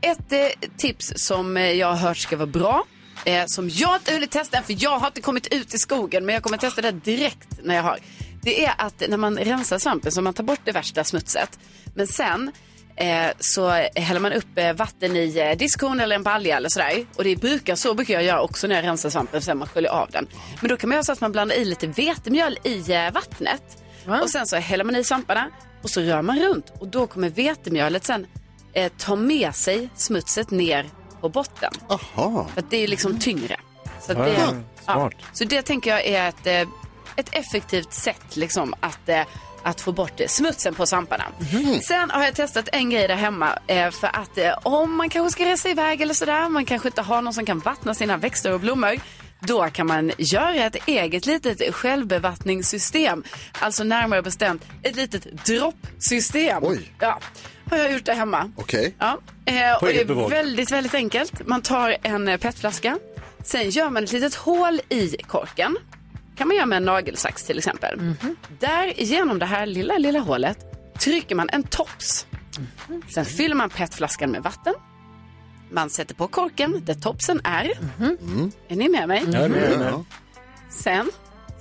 Ett eh, tips som eh, jag har hört ska vara bra, eh, som jag inte hunnit testa än, för jag har inte kommit ut i skogen, men jag kommer testa det direkt när jag har. Det är att när man rensar svampen så man tar bort det värsta smutset, men sen Eh, så häller man upp eh, vatten i eh, diskon eller en balja eller sådär. Och det brukar, så brukar jag göra också när jag rensar svampen sen man sköljer av den. Men då kan man göra så att man blandar i lite vetemjöl i eh, vattnet. Och sen så häller man i svamparna och så rör man runt. Och då kommer vetemjölet sen eh, ta med sig smutset ner på botten. Jaha. För att det är liksom tyngre. Så, att Ja, det, ja, ja. smart. så det tänker jag är ett, eh, ett effektivt sätt liksom, att, eh, att få bort eh, smutsen på svamparna. Sen har jag testat en grej där hemma eh, för att eh, om man kanske ska resa iväg eller sådär, man kanske inte har någon som kan vattna sina växter och blommor. Då kan man göra ett eget litet självbevattningssystem. Alltså närmare bestämt ett litet droppsystem. Oj. Ja, har jag gjort det hemma. Okej. Ja, eh, och det eget bevåg. är väldigt, väldigt enkelt. Man tar en eh, petflaska, sen gör man ett litet hål i korken. kan man göra med en nagelsax till exempel. Mhm. Där genom det här lilla, lilla hålet trycker man en tops. Mhm. Sen fyller man petflaskan med vatten. Man sätter på korken där topsen är. Är ni med mig? Mhm. Ja, det är det. Sen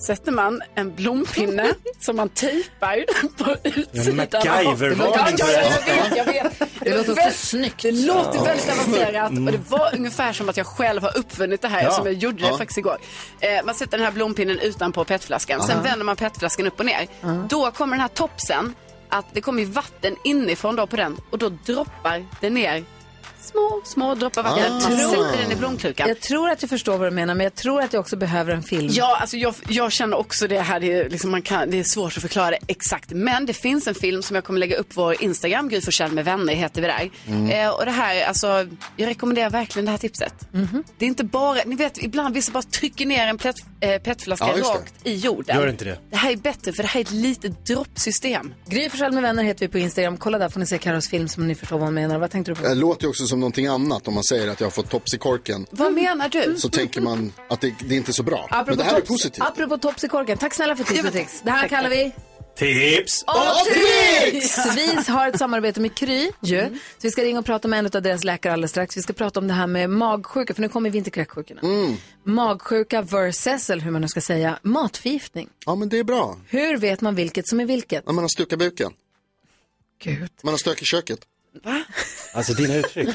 sätter man en blompinne som man tejpar på utsidan. av- MacGyver-varning Ja, ja, ja, på det jag här. vet, jag vet. Det låter också väl- snyggt. Det låter Ja. väldigt avancerat Mm. och det var ungefär som att jag själv har uppfunnit det här Ja. som jag gjorde det Ja. faktiskt igår. Eh, man sätter den här blompinnen utanpå petflaskan, sen Aha. vänder man petflaskan upp och ner. Då kommer den här topsen, att det kommer ju vatten inifrån då på den och då droppar det ner små, små droppar vatten. Ah. Man sätter den i blomkrukan. Jag tror att jag förstår vad du menar, men jag tror att jag också behöver en film. Ja, alltså jag, jag känner också det här. Det är, liksom man kan, det är svårt att förklara det exakt. Men det finns en film som jag kommer lägga upp på vår Instagram, Gry Forssell med vänner heter vi där. Mm. Eh, och det här, alltså, jag rekommenderar verkligen det här tipset. Det är inte bara, ni vet ibland vissa bara trycker ner en plätt, eh, petflaska Ja, just det. rakt i jorden. Gör inte det. Det här är bättre för det här är ett litet droppsystem. Gry Forssell med vänner heter vi på Instagram. Kolla där får ni se Carros film som ni förstår vad hon menar. Vad tänkte du på? Det låter ju också som någonting annat om man säger att jag har fått tops i korken. Vad menar du? Så tänker man att det, det är inte är så bra. Men det här är tops, positivt. apropå tops i korken, tack snälla för tips och tricks. Det här kallar vi Tips Vi har ett samarbete med Kry ju. Så vi ska ringa och prata med en av deras läkare alldeles strax. Vi ska prata om det här med magsjuka, för nu kommer vinterkräksjukorna. Mm. Magsjuka versus, eller hur man nu ska säga, matförgiftning. Ja, men det är bra. Hur vet man vilket som är vilket? När man har stukat buken. Gud. Man har stök i köket. Alltså dina [LAUGHS] uttryck.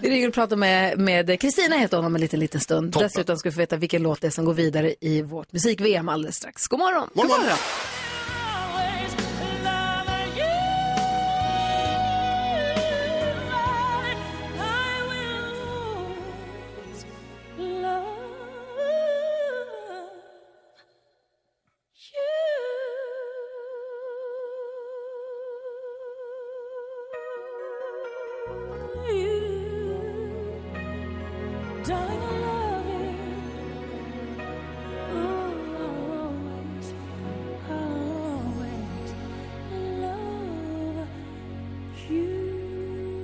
Vi ringer och pratar med- med Kristina heter hon om en liten, liten stund. Toppen. Dessutom ska vi få veta vilken låt det är som går vidare i vårt musik-VM alldeles strax. God morgon! God morgon. oh,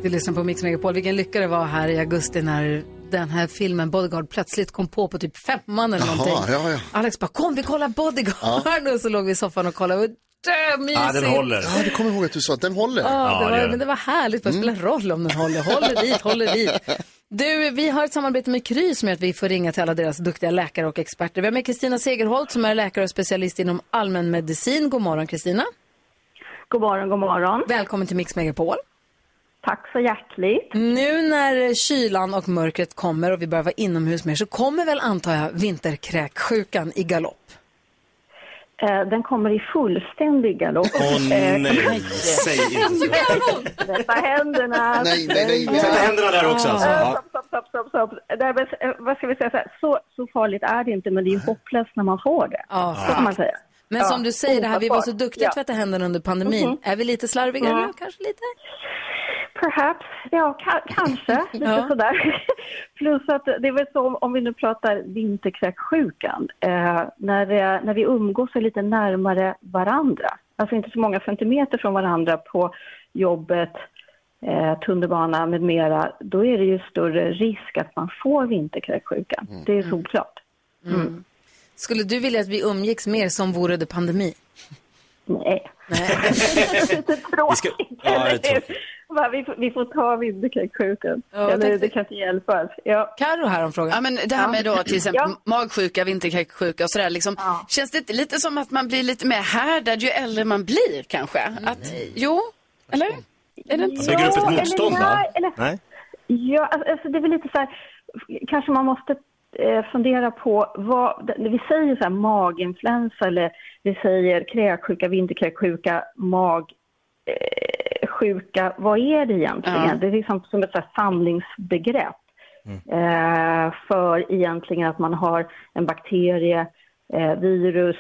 Du lyssnar på Mix Megapol. Vilken lycka det var här i augusti när den här filmen Bodyguard plötsligt kom på på typ femman eller Jaha, någonting. ja, ja. Alex bara, kom vi kollar Bodyguard. [LAUGHS] Och så låg vi i soffan och kollade. Och dö, mysigt. Ja, du kommer ihåg att du sa att den Mm. håller. Ja, det var, men det var härligt. Det spelar roll om den håller. [LAUGHS] Håller dit, håller dit. Du, vi har ett samarbete med Kry som gör att vi får ringa till alla deras duktiga läkare och experter. Vi har med Kristina Segerholt som är läkare och specialist inom allmänmedicin. God morgon Kristina. God morgon, god morgon. Välkommen till Mix Megapol. Tack så hjärtligt. Nu när kylan och mörkret kommer och vi börjar vara inomhus mer så kommer väl antar jag vinterkräksjukan i galopp? Eh, Den kommer i fullständig galopp. Åh Eh, nej, [LAUGHS] säg inte så. Tvätta händerna. Nej, nej, nej, nej. Tvätta händerna där också, alltså. Eh, Ja. Stopp, stopp, stopp, stopp, stopp. Nej, men, eh, vad ska vi säga? Så, här, så, så farligt är det inte, men det är ju hopplöst när man får det. Ja, så kan man säga. Men Ja, som du säger, det här, vi var så ofattbart. duktiga att Ja. tvätta händerna under pandemin. Mhm. Är vi lite slarvigare Ja. nu kanske? Lite? Perhaps, ja ka- [LAUGHS] kanske, lite Ja. sådär. [LAUGHS] Plus att det är väl så om, om vi nu pratar vinterkräksjukan, eh, när, eh, när vi umgås så lite närmare varandra, alltså inte så många centimeter från varandra på jobbet, eh, tunnelbana med mera, då är det ju större risk att man får vinterkräksjukan. Det är solklart. Mm. Skulle du vilja att vi umgicks mer som vore det pandemi? Nej. Vi ska... ja, det är tråkigt. Va, vi, får- vi får ta vinterkräksjukan. Ja, Eller, tänkte- Det kan inte hjälpas. Ja. Karo här om frågan. Ja, men det här med då till exempel Ja. magsjuka, vinterkräksjuka och sådär. Liksom, Känns det inte lite som att man blir lite mer härdad ju äldre man blir kanske? Att, jo, eller? Är det inte Man så? bygger upp ett Ja, motstånd, eller va? nej, eller- Nej. Ja, alltså det är väl lite så här, kanske man måste eh, fundera på vad, när vi säger så här maginfluensa eller vi säger kräksjuka, vinterkräksjuka, magsjuka, eh, sjuka, vad är det egentligen? Ja. Det är liksom som ett så här samlingsbegrepp. eh, för egentligen att man har en bakterie, eh, virus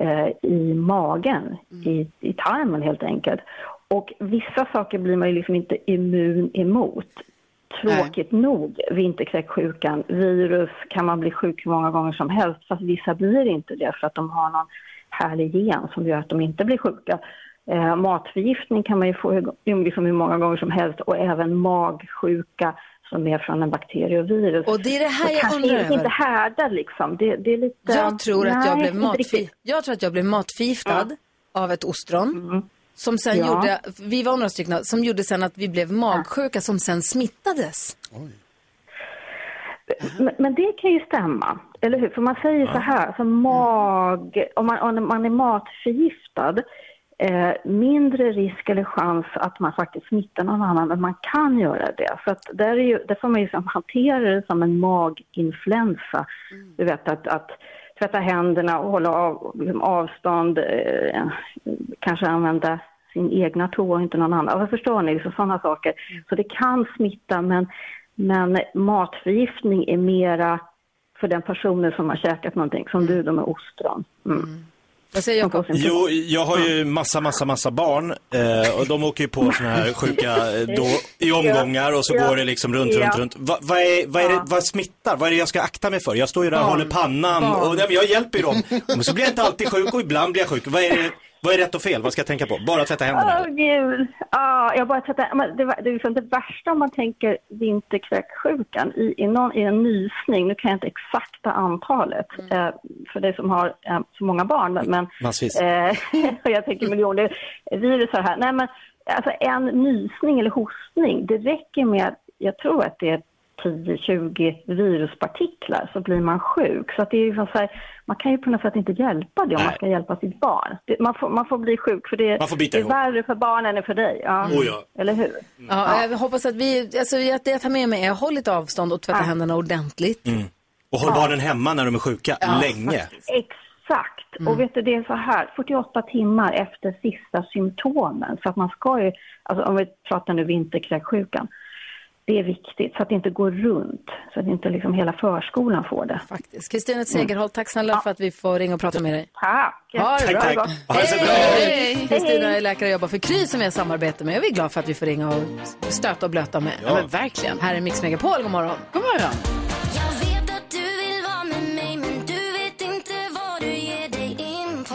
eh, i magen, Mm. i, i tarmen helt enkelt. Och vissa saker blir man ju liksom inte immun emot. Tråkigt nog, vinterkräksjukan, virus kan man bli sjuk hur många gånger som helst, fast vissa blir inte det för att de har någon härlig gen som gör att de inte blir sjuka. Eh, matförgiftning kan man ju få hur, hur- liksom hur många gånger som helst och även magsjuka som är från en bakterie och virus. Och det är det här jag kanske undrar över. inte härdar liksom. Det, det är lite... Jag tror, att Nej, jag, blev inte riktigt. matför... jag tror att jag blev matförgiftad av ett ostron. Som sen Mm. Ja. gjorde, vi var några stycken, som gjorde sen att vi blev magsjuka som sen smittades. Men, men det kan ju stämma, eller hur? För man säger så här, alltså mag, om, man, om man är matförgiftad, eh, mindre risk eller chans att man faktiskt smittar någon annan, men man kan göra det. Så att där, är ju, där får man ju liksom hantera det som en maginfluensa. Mm. Du vet att, att tvätta händerna och hålla av, liksom avstånd, eh, kanske använda sin egna toa och inte någon annan. Alltså, förstår ni? Liksom sådana saker. Mm. Så det kan smitta, men men matförgiftning är mera för den personen som har käkat någonting, som du då med ostron. Mm. Vad säger Jakob? Jo, jag har ju massa, massa, massa barn eh, och de åker ju på såna [LAUGHS] här sjuka eh, då, i omgångar och så Ja. går det liksom runt, Ja. runt, runt. Va, vad, är, vad, är det, vad smittar? Vad är det jag ska akta mig för? Jag står ju där och Barn. håller pannan Barn. och nej, men jag hjälper ju dem. Men så blir jag inte alltid sjuk och ibland blir jag sjuk. Vad är, det, vad är rätt och fel? Vad ska jag tänka på? Bara tvätta händerna. Åh gud! Ja, jag bara tvättar. men Det, var- det är liksom det värsta om man tänker vinterkräksjukan i, i, någon, i en nysning, nu kan jag inte exakta antalet eh, för dig som har eh, så många barn, men- men Massvis. Eh, [LAUGHS] och jag tänker miljoner virusar här. Nej, men alltså en nysning eller hostning, det räcker med, att- jag tror att det är 10-20 viruspartiklar så blir man sjuk. Så att det är liksom så här, man kan ju på något sätt inte hjälpa det om man ska hjälpa sitt barn. Det, man, får, man får bli sjuk för det, Man får det bita är ihop. värre för barnen än för dig. Ja. Mm. Oh ja. Eller hur? Ja, jag hoppas att vi, alltså jag- det jag tar med mig är håll lite avstånd och tvätta händerna ordentligt. Mm. Och håll Ja. barnen hemma när de är sjuka, Ja, länge. Exakt. Och vet du, det är så här, 48 timmar efter sista symptomen. Så att man ska ju, alltså om vi pratar nu vinterkräksjukan, det är viktigt så att det inte går runt. Så att inte liksom hela förskolan får det. Faktiskt. Kristina Segerholt, tack snälla för att vi får ringa och prata med dig. Tack! Ha det Tack, bra. tack. Ha det så bra. Hej! Hej. Kristina är läkare och jobbar för Kry som vi har samarbete med. Och vi är glada för att vi får ringa och stöta och blöta med. Ja, men verkligen. Här är Mix Megapol, god morgon. God morgon. Jag vet att du vill vara med mig men du vet inte vad du ger dig in på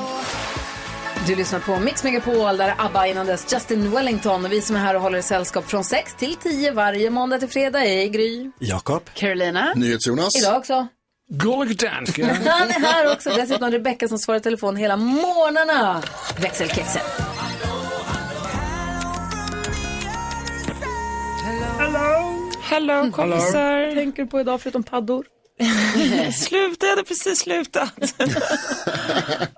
Du lyssnar på Mix Megapol, där är ABBA innan dess Justin Wellington. Och vi som är här och håller i sällskap från 6 till 10 varje måndag till fredag är Gry. Jakob. Carolina. NyhetsJonas. Idag också. Gullig dansk. ja. [LAUGHS] Han är här också. Dessutom Rebecka som svarar i telefon hela morgnarna. Växelkexen. Hello! Hello kompisar! Vad tänker du på idag [LAUGHS] förutom paddor? Sluta, jag hade precis [LAUGHS] slutat.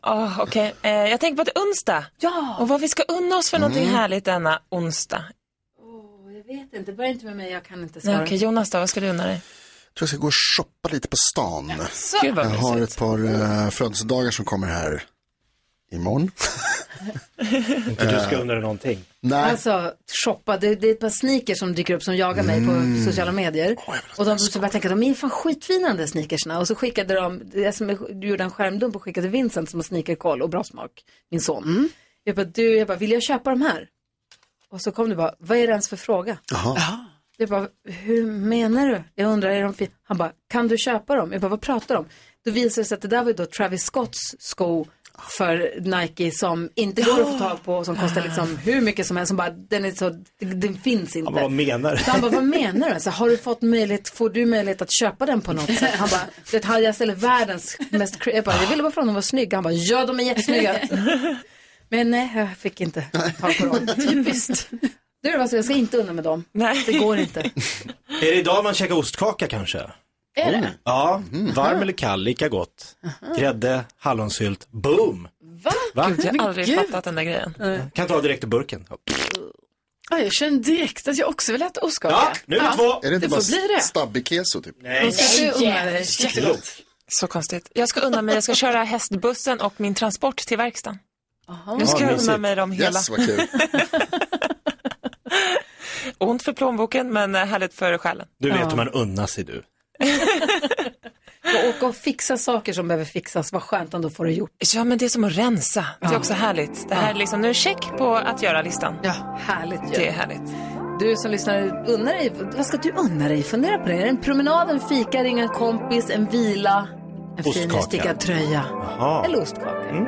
oh, okay. eh, jag tänker på att det är onsdag. Ja. Och vad vi ska unna oss för någonting Mm. härligt denna onsdag. Jag vet inte. Börja inte med mig. Jag kan inte Nej, svara. Okej, Jonas då, vad ska du unna dig? Jag tror jag ska gå och shoppa lite på stan. Gud, jag vad har ett par eh, födelsedagar som kommer här imorgon. Inte du ska undra någonting. Nej. Alltså, shoppa. Det, det är ett par sneakers som dyker upp som jagar mig på sociala medier. och de så bara tänker, de är fan skitfina de där sneakersna. Och så skickade de, det som är- du gjorde en skärmdump och skickade Vincent som har sneakerkoll och bra smak, min son. Jag bara, du, jag bara, vill jag köpa de här? Och så kom du bara, vad är det ens för fråga? Jaha. Jag bara, hur menar du? Jag undrar, är de fin-" Han bara, kan du köpa dem? Jag bara, vad pratar du om? Då visade det sig att det där var ju då Travis Scotts sko för Nike som inte går att få tag på och som kostar liksom hur mycket som helst. Som bara, den, är så, den finns Ja, inte. men vad menar du? Så han bara, vad menar du? Alltså, har du fått möjlighet, får du möjlighet att köpa den på något sätt? Han bara, det här, jag ställer världens mest, cra-" jag bara, jag ville bara fråga om de var snygga. Han bara, ja de [LAUGHS] är jättesnygga. Men nej, jag fick inte tag på dem. Typiskt. Du, alltså, jag ska inte undan med dem. Nej. Det går inte. Är det idag man käkar ostkaka kanske? Är det? Ja, varm eller kall, lika gott. Grädde, hallonsylt, boom! Va? Va? Gud, jag har aldrig Gud. fattat den där grejen. Kan ta direkt ur burken. Ja, jag känner direkt att jag också vill äta ostkaka. Är det inte bara får bli det. stabbig keso typ? Nej. ska du unna dig. Jättegott. Så konstigt. Jag ska unna mig, jag [LAUGHS] ska köra hästbussen och min transport till verkstaden. Nu ska Ja, jag unna mysigt. mig dem hela. Yes, vad kul. [LAUGHS] Ont för plånboken men eh, härligt för själen. Du vet Ja. hur man unnar sig du. [LAUGHS] Och, och fixa saker som behöver fixas, vad skönt om du får det gjort. Ja, men det är som att rensa. Det är också härligt. Det här är liksom, nu är check på att göra-listan. Ja, härligt. ju. Det är härligt. Du som lyssnar, unna dig, vad ska du unna dig? Fundera på det. Är det en promenad, en fika, ringa en kompis, en vila, en fin Ostkaka. stickad tröja Jaha. eller ostkaka?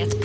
Ett